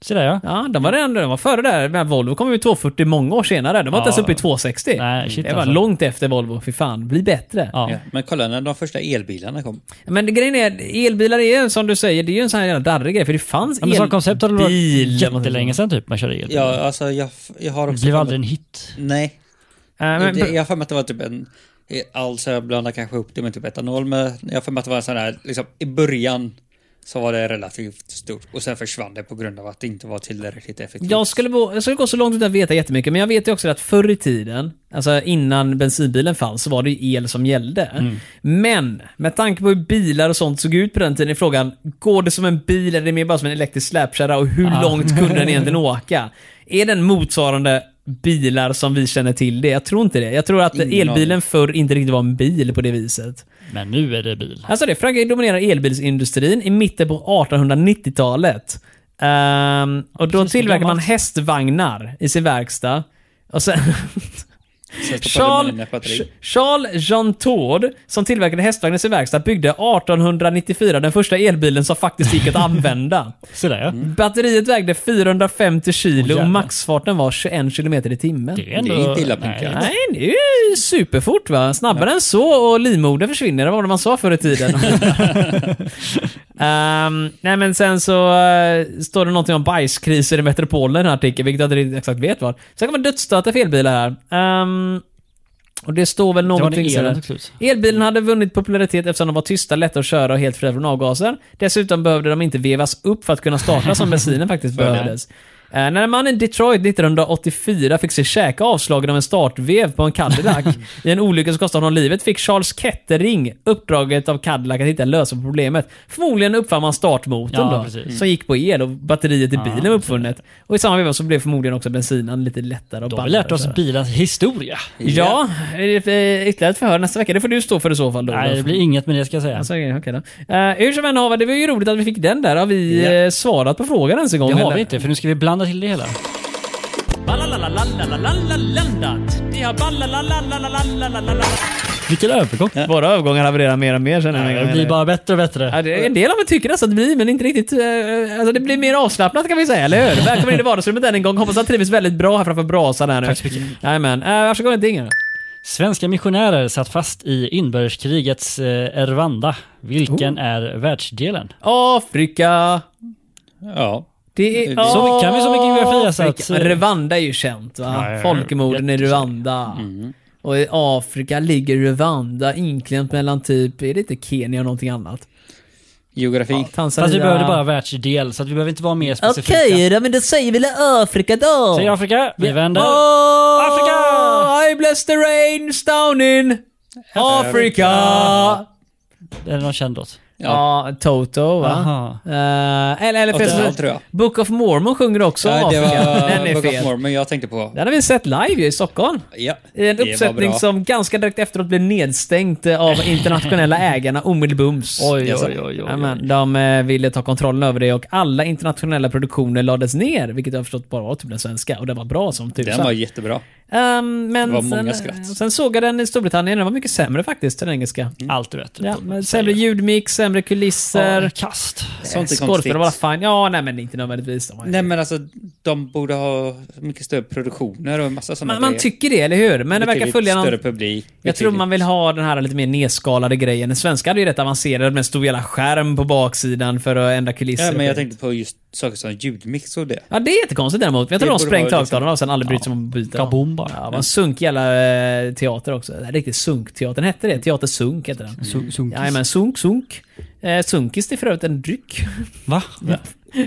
[SPEAKER 1] Se där ja.
[SPEAKER 2] Ja, de var redan de var före där. Men Volvo kom ju 240 många år senare. De var inte
[SPEAKER 1] Ja.
[SPEAKER 2] ens uppe i 260.
[SPEAKER 1] Nej, shit
[SPEAKER 2] det var
[SPEAKER 1] alltså.
[SPEAKER 2] långt efter Volvo. Fy fan, bli bättre.
[SPEAKER 1] Ja.
[SPEAKER 4] Ja. Men kolla när de första elbilarna kom.
[SPEAKER 2] Men det- grejen är, elbilar är ju som du säger, det är ju en sån här jävla darrig grej. För det fanns
[SPEAKER 1] Ja, men som koncept har det varit
[SPEAKER 2] elbil.
[SPEAKER 1] jättelänge sedan typ man körde elbil.
[SPEAKER 4] Ja, alltså jag, jag har
[SPEAKER 1] det
[SPEAKER 4] också...
[SPEAKER 1] blev aldrig en hit.
[SPEAKER 4] Nej.
[SPEAKER 2] Eh, men-
[SPEAKER 4] det, jag har för mig att det var typ en... Alltså jag blandar kanske upp det med typ etanol, men jag har för mig att det var en sån här, liksom i början så var det relativt stort och sen försvann det på grund av att det inte var tillräckligt effektivt.
[SPEAKER 2] Jag skulle, gå, jag skulle gå så långt utan att veta jättemycket, men jag vet ju också att förr i tiden, alltså innan bensinbilen fanns, så var det ju el som gällde. Men, med tanke på hur bilar och sånt såg ut på den tiden är frågan, går det som en bil eller är det mer bara som en elektrisk släpkärra och hur långt kunde den egentligen åka? Är den motsvarande bilar som vi känner till det? Jag tror inte det. Jag tror att
[SPEAKER 4] Ingen
[SPEAKER 2] elbilen förr inte riktigt var en bil på det viset.
[SPEAKER 1] Men nu är det bil.
[SPEAKER 2] Alltså det, Frankrike dominerar elbilsindustrin i mitten på 1890-talet. Ehm, och då
[SPEAKER 1] Precis,
[SPEAKER 2] tillverkar man
[SPEAKER 1] gammalt.
[SPEAKER 2] hästvagnar i sin verkstad. Och sen
[SPEAKER 4] Sen stoppade
[SPEAKER 2] Charles,
[SPEAKER 4] man in ett batteri.
[SPEAKER 2] <laughs> Charles Jean Todd, som tillverkade hästvagnar i sin verkstad, byggde 1894 den första elbilen som
[SPEAKER 1] <laughs>
[SPEAKER 2] faktiskt gick att använda.
[SPEAKER 1] Se där ja.
[SPEAKER 4] Mm.
[SPEAKER 2] Batteriet vägde 450 kilo
[SPEAKER 1] jävlar.
[SPEAKER 2] och maxfarten var 21 kilometer i timmen.
[SPEAKER 1] Det är,
[SPEAKER 4] Det är inte illa
[SPEAKER 1] nej.
[SPEAKER 4] pinkat.
[SPEAKER 2] Nej, det är ju superfort va. Snabbare än så och livmodern försvinner, det var det man sa förr i tiden. Ehm, nej men sen så eh, står det någonting om bajskriser i metropolen i den här artikeln, vilket jag inte riktigt exakt vet vad. Sen kommer dödsstöta för elbilar här. Ehm, och det står väl
[SPEAKER 1] Det var
[SPEAKER 2] någonting
[SPEAKER 1] när
[SPEAKER 2] sådär.
[SPEAKER 1] elen tog slut.
[SPEAKER 2] Elbilen hade vunnit popularitet eftersom de var tysta, lätta att köra och helt fria från avgaser. Dessutom behövde de inte vevas upp för att kunna
[SPEAKER 1] <laughs>
[SPEAKER 2] starta som bensinen faktiskt behövdes. Eh, när en man i Detroit 1984 fick se käka avslagen av en startvev på
[SPEAKER 1] <laughs>
[SPEAKER 2] en Cadillac i en olycka som kostade honom livet fick Charles Kettering uppdraget av Cadillac att hitta en lösning på problemet. Förmodligen uppfann man startmotorn
[SPEAKER 1] Ja,
[SPEAKER 2] då,
[SPEAKER 1] precis.
[SPEAKER 2] som gick på el och batteriet i bilen var uppfunnet. Och i samma veva så blev förmodligen också bensinen lite lättare och
[SPEAKER 1] Då har vi
[SPEAKER 2] ballare
[SPEAKER 1] lärt
[SPEAKER 2] och sådär.
[SPEAKER 1] oss bilens historia.
[SPEAKER 2] Ja, är det för- ytterligare ett förhör nästa vecka. Det får du stå för i så fall. Då,
[SPEAKER 1] Nej, det blir inget med det ska jag säga.
[SPEAKER 2] Alltså, okej, okej då. Eh, hur som än haver, det var ju roligt att vi fick den där. Har vi
[SPEAKER 4] Ja.
[SPEAKER 2] eh, svarat på frågan ens en gång?
[SPEAKER 1] Det har
[SPEAKER 2] eller?
[SPEAKER 1] vi inte, för nu ska vi blanda till det hela. Vilken övergång.
[SPEAKER 2] Våra övergångar havererar mer och mer känner jag.
[SPEAKER 1] Det blir bara bättre och
[SPEAKER 2] Ja,
[SPEAKER 1] bättre.
[SPEAKER 2] det, en del av er tycker nästan att det blir, men inte riktigt. eh, alltså det blir mer avslappnat kan vi säga, eller hur? Välkommen in i vardagsrummet än en gång. Hoppas att trivs väldigt bra här framför brasan här nu.
[SPEAKER 1] Tack så mycket.
[SPEAKER 2] Jajamän. Uh, varsågod en ding här.
[SPEAKER 1] Svenska missionärer satt fast i inbördeskrigets eh, Rwanda. Vilken
[SPEAKER 4] Oh.
[SPEAKER 1] är världsdelen?
[SPEAKER 2] Afrika.
[SPEAKER 4] Ja.
[SPEAKER 2] Det är
[SPEAKER 1] Så mycket- kan vi så mycket geografi, alltså,
[SPEAKER 2] Afrika.
[SPEAKER 1] att-
[SPEAKER 2] Men Rwanda är ju känt va?
[SPEAKER 1] Ja, ja, ja.
[SPEAKER 2] Folkmorden i
[SPEAKER 1] Jättekänt. Mm.
[SPEAKER 2] Rwanda. Och i Afrika ligger Rwanda inklämt mellan typ, är det inte Kenya och någonting annat?
[SPEAKER 4] Geografi.
[SPEAKER 2] Tanzania.
[SPEAKER 1] Fast vi behövde bara världsdel, så att vi behöver inte vara mer specifika.
[SPEAKER 2] Okej då, men då säger vi väl Afrika då?
[SPEAKER 1] Säg Afrika, vi vänder.
[SPEAKER 2] Oh,
[SPEAKER 1] Afrika!
[SPEAKER 2] I bless the rains down in Africa.
[SPEAKER 1] Är det någon känd låt?
[SPEAKER 2] Ja, Toto va?
[SPEAKER 1] Aha.
[SPEAKER 2] Eh, eller eller
[SPEAKER 4] Åtta
[SPEAKER 2] förresten,
[SPEAKER 4] år, tror jag.
[SPEAKER 2] Book of Mormon sjunger också
[SPEAKER 4] Nej, det
[SPEAKER 2] Afrika. Den
[SPEAKER 4] var
[SPEAKER 2] är
[SPEAKER 4] Book of
[SPEAKER 2] fel.
[SPEAKER 4] Mormon jag tänkte på.
[SPEAKER 2] Den har vi sett live ju i Stockholm.
[SPEAKER 4] Ja,
[SPEAKER 2] I en
[SPEAKER 4] det var
[SPEAKER 2] uppsättning
[SPEAKER 4] bra.
[SPEAKER 2] som ganska direkt efteråt blev nedstängt eh, av
[SPEAKER 4] <clears throat>
[SPEAKER 2] internationella ägarna omedelbums.
[SPEAKER 1] Oj,
[SPEAKER 4] Jaså.
[SPEAKER 1] oj, oj, oj.
[SPEAKER 2] Jajamän, de eh, ville ta kontrollen över det och alla internationella produktioner lades ner, vilket jag har förstått bara var typ den svenska. Och den var bra som tusan.
[SPEAKER 4] Den var jättebra.
[SPEAKER 2] Ehm, men
[SPEAKER 4] det var
[SPEAKER 2] sen,
[SPEAKER 4] många skratt.
[SPEAKER 2] sen såg jag den i Storbritannien, den var mycket sämre faktiskt, den engelska.
[SPEAKER 1] Allt vet.
[SPEAKER 2] Ja, men sämre ljudmix, sämre kulisser.
[SPEAKER 1] Ja, kast.
[SPEAKER 4] Sånt är konstigt.
[SPEAKER 2] Skådespelare var fine. Ja, nej men inte nödvändigtvis. De var-
[SPEAKER 4] Nej men alltså, de borde ha mycket större produktioner och en massa sådana
[SPEAKER 2] man, man tycker det, eller hur? Men det verkar följa någon...
[SPEAKER 4] större publik.
[SPEAKER 2] Jag tror man vill ha den här lite mer nedskalade grejen. Den svenska hade ju rätt avancerad med en stor jävla skärm på baksidan för att ändra kulisser.
[SPEAKER 4] Ja,
[SPEAKER 2] och
[SPEAKER 4] men jag
[SPEAKER 2] skit.
[SPEAKER 4] tänkte på just saker som ljudmix och det.
[SPEAKER 2] Ja, det är jättekonstigt däremot. Jag tror
[SPEAKER 4] Det
[SPEAKER 2] de
[SPEAKER 4] borde
[SPEAKER 2] sprängt
[SPEAKER 4] vara liksom-
[SPEAKER 2] högtalarna och sen aldrig brytt sig om att byta dem.
[SPEAKER 1] Kaboom bara.
[SPEAKER 2] Ja, det var en sunkig jävla eh, teater också. Det här är riktigt sunkteatern. Hette det? Teater Sunk hette den.
[SPEAKER 1] Sun- sunkis.
[SPEAKER 2] Jajamän, Sunk Sunk. Eh, sunkis det är för övrigt en dryck. <laughs>
[SPEAKER 1] Va?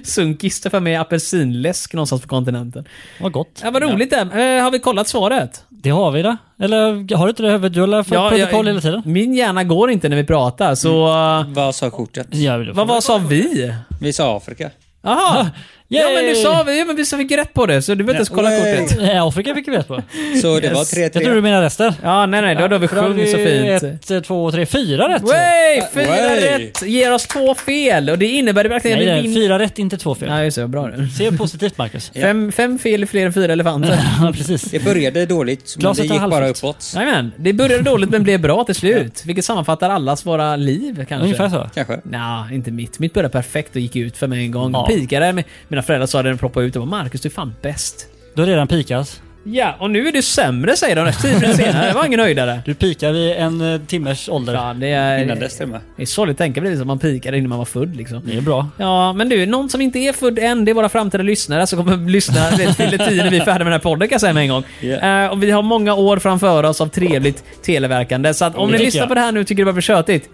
[SPEAKER 2] sunkis det är för mig apelsinläsk någonstans på kontinenten.
[SPEAKER 1] Vad gott.
[SPEAKER 2] Ja, vad roligt det. Eh, har vi kollat svaret?
[SPEAKER 1] Det har vi det. Eller har du inte det i huvudet? Du har för protokoll hela tiden.
[SPEAKER 2] Min hjärna går inte när vi pratar, så... eh,
[SPEAKER 4] Vad sa kortet?
[SPEAKER 1] Ja, det får
[SPEAKER 2] Vad,
[SPEAKER 1] vi.
[SPEAKER 2] vad sa vi?
[SPEAKER 4] Vi sa Afrika.
[SPEAKER 2] Jaha! Ja
[SPEAKER 1] Yay!
[SPEAKER 2] men du sa vi, ja, men vi sa vi fick rätt på det, så du behöver inte ens kolla
[SPEAKER 4] Nej.
[SPEAKER 2] kortet.
[SPEAKER 1] Eh, Afrika fick vi rätt
[SPEAKER 2] <laughs>
[SPEAKER 1] på.
[SPEAKER 4] Så det var
[SPEAKER 1] Jag tror du
[SPEAKER 4] 3-3.
[SPEAKER 1] menar resten.
[SPEAKER 2] Ja, nej nej, då hade vi sjungit så fint.
[SPEAKER 1] Ett, eh, två, tre, fyra rätt.
[SPEAKER 2] Way! Fyra
[SPEAKER 4] Way!
[SPEAKER 2] rätt! Ger oss två fel och det innebär verkligen
[SPEAKER 1] Nej,
[SPEAKER 2] att
[SPEAKER 1] nej,
[SPEAKER 2] vi vinner.
[SPEAKER 1] fyra rätt, inte två fel.
[SPEAKER 2] Ja, just det. vad Bra det.
[SPEAKER 1] Se positivt
[SPEAKER 2] <laughs>
[SPEAKER 1] Marcus.
[SPEAKER 2] Fem, fem fel är fler än fyra elefanter.
[SPEAKER 1] Ja, precis.
[SPEAKER 4] Det började dåligt, men det
[SPEAKER 1] Glaset
[SPEAKER 4] gick
[SPEAKER 1] har
[SPEAKER 4] bara
[SPEAKER 1] halvfullt.
[SPEAKER 4] uppåt.
[SPEAKER 2] Jajamän. Det började dåligt men blev bra till slut. Vilket sammanfattar allas våra liv
[SPEAKER 1] <laughs>
[SPEAKER 2] kanske.
[SPEAKER 1] Ungefär så.
[SPEAKER 4] Kanske.
[SPEAKER 2] Nja, inte mitt. Mitt började perfekt och gick ut för mig en gång.
[SPEAKER 1] Ja.
[SPEAKER 2] Pikade. men Mina föräldrar sa det när de ploppade ut. De bara “Marcus, du är fan bäst”.
[SPEAKER 1] Du har redan pikat.
[SPEAKER 2] Ja, och nu är du sämre säger de efter tio minuter senare. Det var ingen höjdare.
[SPEAKER 1] Du pikar vid en eh, timmes ålder.
[SPEAKER 2] Ja, det är,
[SPEAKER 4] Innan dess till och med.
[SPEAKER 2] det är sorgligt att tänka på det, som man pikade innan man var född liksom.
[SPEAKER 1] Det är bra.
[SPEAKER 2] Ja, men du, någon som inte är född än, det är våra framtida lyssnare som kommer att lyssna vet, till tiden när vi är färdiga med den här podden kan jag säga med en gång.
[SPEAKER 4] Yeah.
[SPEAKER 2] Eh, och vi har många år framför oss av trevligt televerkande. Så att om
[SPEAKER 1] Det
[SPEAKER 2] ni
[SPEAKER 1] tycker
[SPEAKER 2] lyssnar
[SPEAKER 1] jag.
[SPEAKER 2] på det här nu och tycker det börjar bli tjötigt,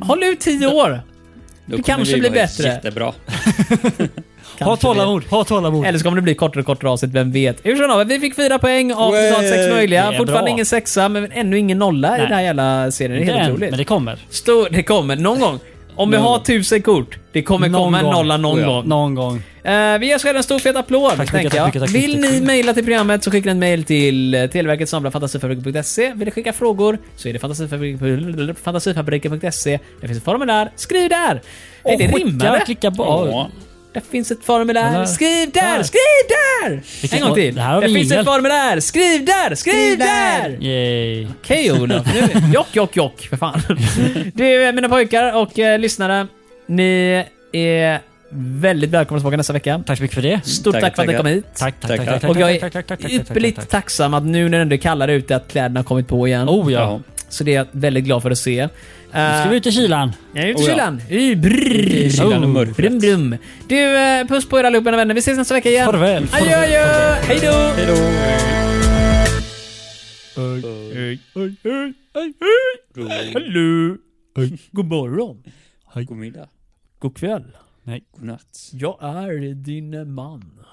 [SPEAKER 2] håll ut tio år!
[SPEAKER 4] Då
[SPEAKER 2] Det
[SPEAKER 4] kommer
[SPEAKER 2] kanske
[SPEAKER 4] vi
[SPEAKER 2] blir
[SPEAKER 4] vara
[SPEAKER 2] bättre.
[SPEAKER 4] Jättebra.
[SPEAKER 1] Ha
[SPEAKER 2] Kanske
[SPEAKER 1] tålamod, ha tålamod.
[SPEAKER 2] Eller så kommer det bli kortare och kortare avsnitt, vem vet? Hur som helst, vi fick fyra poäng av
[SPEAKER 4] Way.
[SPEAKER 2] totalt sex
[SPEAKER 1] Det är
[SPEAKER 2] möjliga.
[SPEAKER 1] bra.
[SPEAKER 2] Fortfarande ingen sexa, men ännu ingen nolla i
[SPEAKER 1] Nej.
[SPEAKER 2] den här jävla serien. Det är
[SPEAKER 1] Inte
[SPEAKER 2] helt
[SPEAKER 1] än,
[SPEAKER 2] otroligt.
[SPEAKER 1] men det kommer.
[SPEAKER 2] Stor, det kommer någon gång. Om vi har tusen kort, det kommer
[SPEAKER 1] Någon
[SPEAKER 2] komma en
[SPEAKER 1] gång.
[SPEAKER 2] nolla någon
[SPEAKER 4] Oh ja.
[SPEAKER 2] gång.
[SPEAKER 1] Någon gång.
[SPEAKER 2] Eh, vi ger oss själva en stor fet applåd.
[SPEAKER 1] Tack så
[SPEAKER 2] tänker
[SPEAKER 1] mycket,
[SPEAKER 2] jag.
[SPEAKER 1] tack så mycket, tack så
[SPEAKER 2] Vill
[SPEAKER 1] mycket.
[SPEAKER 2] ni mejla till programmet så skicka en mejl till eh, televerket snabla fantasifabrik.se. Vill ni skicka frågor så är det fantasifabrik- fantasifabriken.se. Det finns ett formulär. Skriv där! är det rimmade?
[SPEAKER 1] Skicka, klicka på.
[SPEAKER 4] Ja.
[SPEAKER 2] Det finns ett formulär.
[SPEAKER 1] Eller-
[SPEAKER 2] Skriv där!
[SPEAKER 1] Ja.
[SPEAKER 2] Skriv där!
[SPEAKER 1] Vilken-
[SPEAKER 2] en gång till.
[SPEAKER 1] Det här har
[SPEAKER 2] Det
[SPEAKER 1] vi
[SPEAKER 2] finns ett
[SPEAKER 1] ingen.
[SPEAKER 2] formulär. Skriv där! Skriv där!
[SPEAKER 1] Yay.
[SPEAKER 2] Okej Olof, nu, jock jock jock
[SPEAKER 1] <laughs>
[SPEAKER 2] för fan. Du eh, mina pojkar och eh, lyssnare, ni är väldigt välkomna tillbaka nästa vecka.
[SPEAKER 1] Tack så mycket för det.
[SPEAKER 2] Stort tack,
[SPEAKER 4] Tack,
[SPEAKER 2] för att ni
[SPEAKER 4] tackar.
[SPEAKER 2] kom hit.
[SPEAKER 1] Tack, tack, tack.
[SPEAKER 4] Tack, tack.
[SPEAKER 1] tack, tack
[SPEAKER 2] Och jag
[SPEAKER 1] tack, tack, tack,
[SPEAKER 2] är
[SPEAKER 1] tack, tack, tack,
[SPEAKER 2] ypperligt
[SPEAKER 1] tack.
[SPEAKER 2] tacksam att nu när det ändå är kallare ute att kläderna har kommit på igen.
[SPEAKER 1] Oh ja.
[SPEAKER 4] Ja.
[SPEAKER 2] Så det är jag väldigt glad för att se. Eh,
[SPEAKER 1] Nu ska vi ut i kylan.
[SPEAKER 2] Jag är ute i
[SPEAKER 4] Oh ja.
[SPEAKER 2] kylan. I brrr.
[SPEAKER 1] I kylan och
[SPEAKER 2] Oh,
[SPEAKER 1] mörkret.
[SPEAKER 2] Brum, brum. Du, eh, puss på er allihopa mina vänner. Vi ses nästa vecka igen.
[SPEAKER 1] Farväl.
[SPEAKER 2] Adjö, adjö. Hej då. Hallå. God morgon.
[SPEAKER 4] God middag.
[SPEAKER 2] God kväll.
[SPEAKER 4] God natt.
[SPEAKER 2] Jag
[SPEAKER 1] <laughs>
[SPEAKER 2] är din man.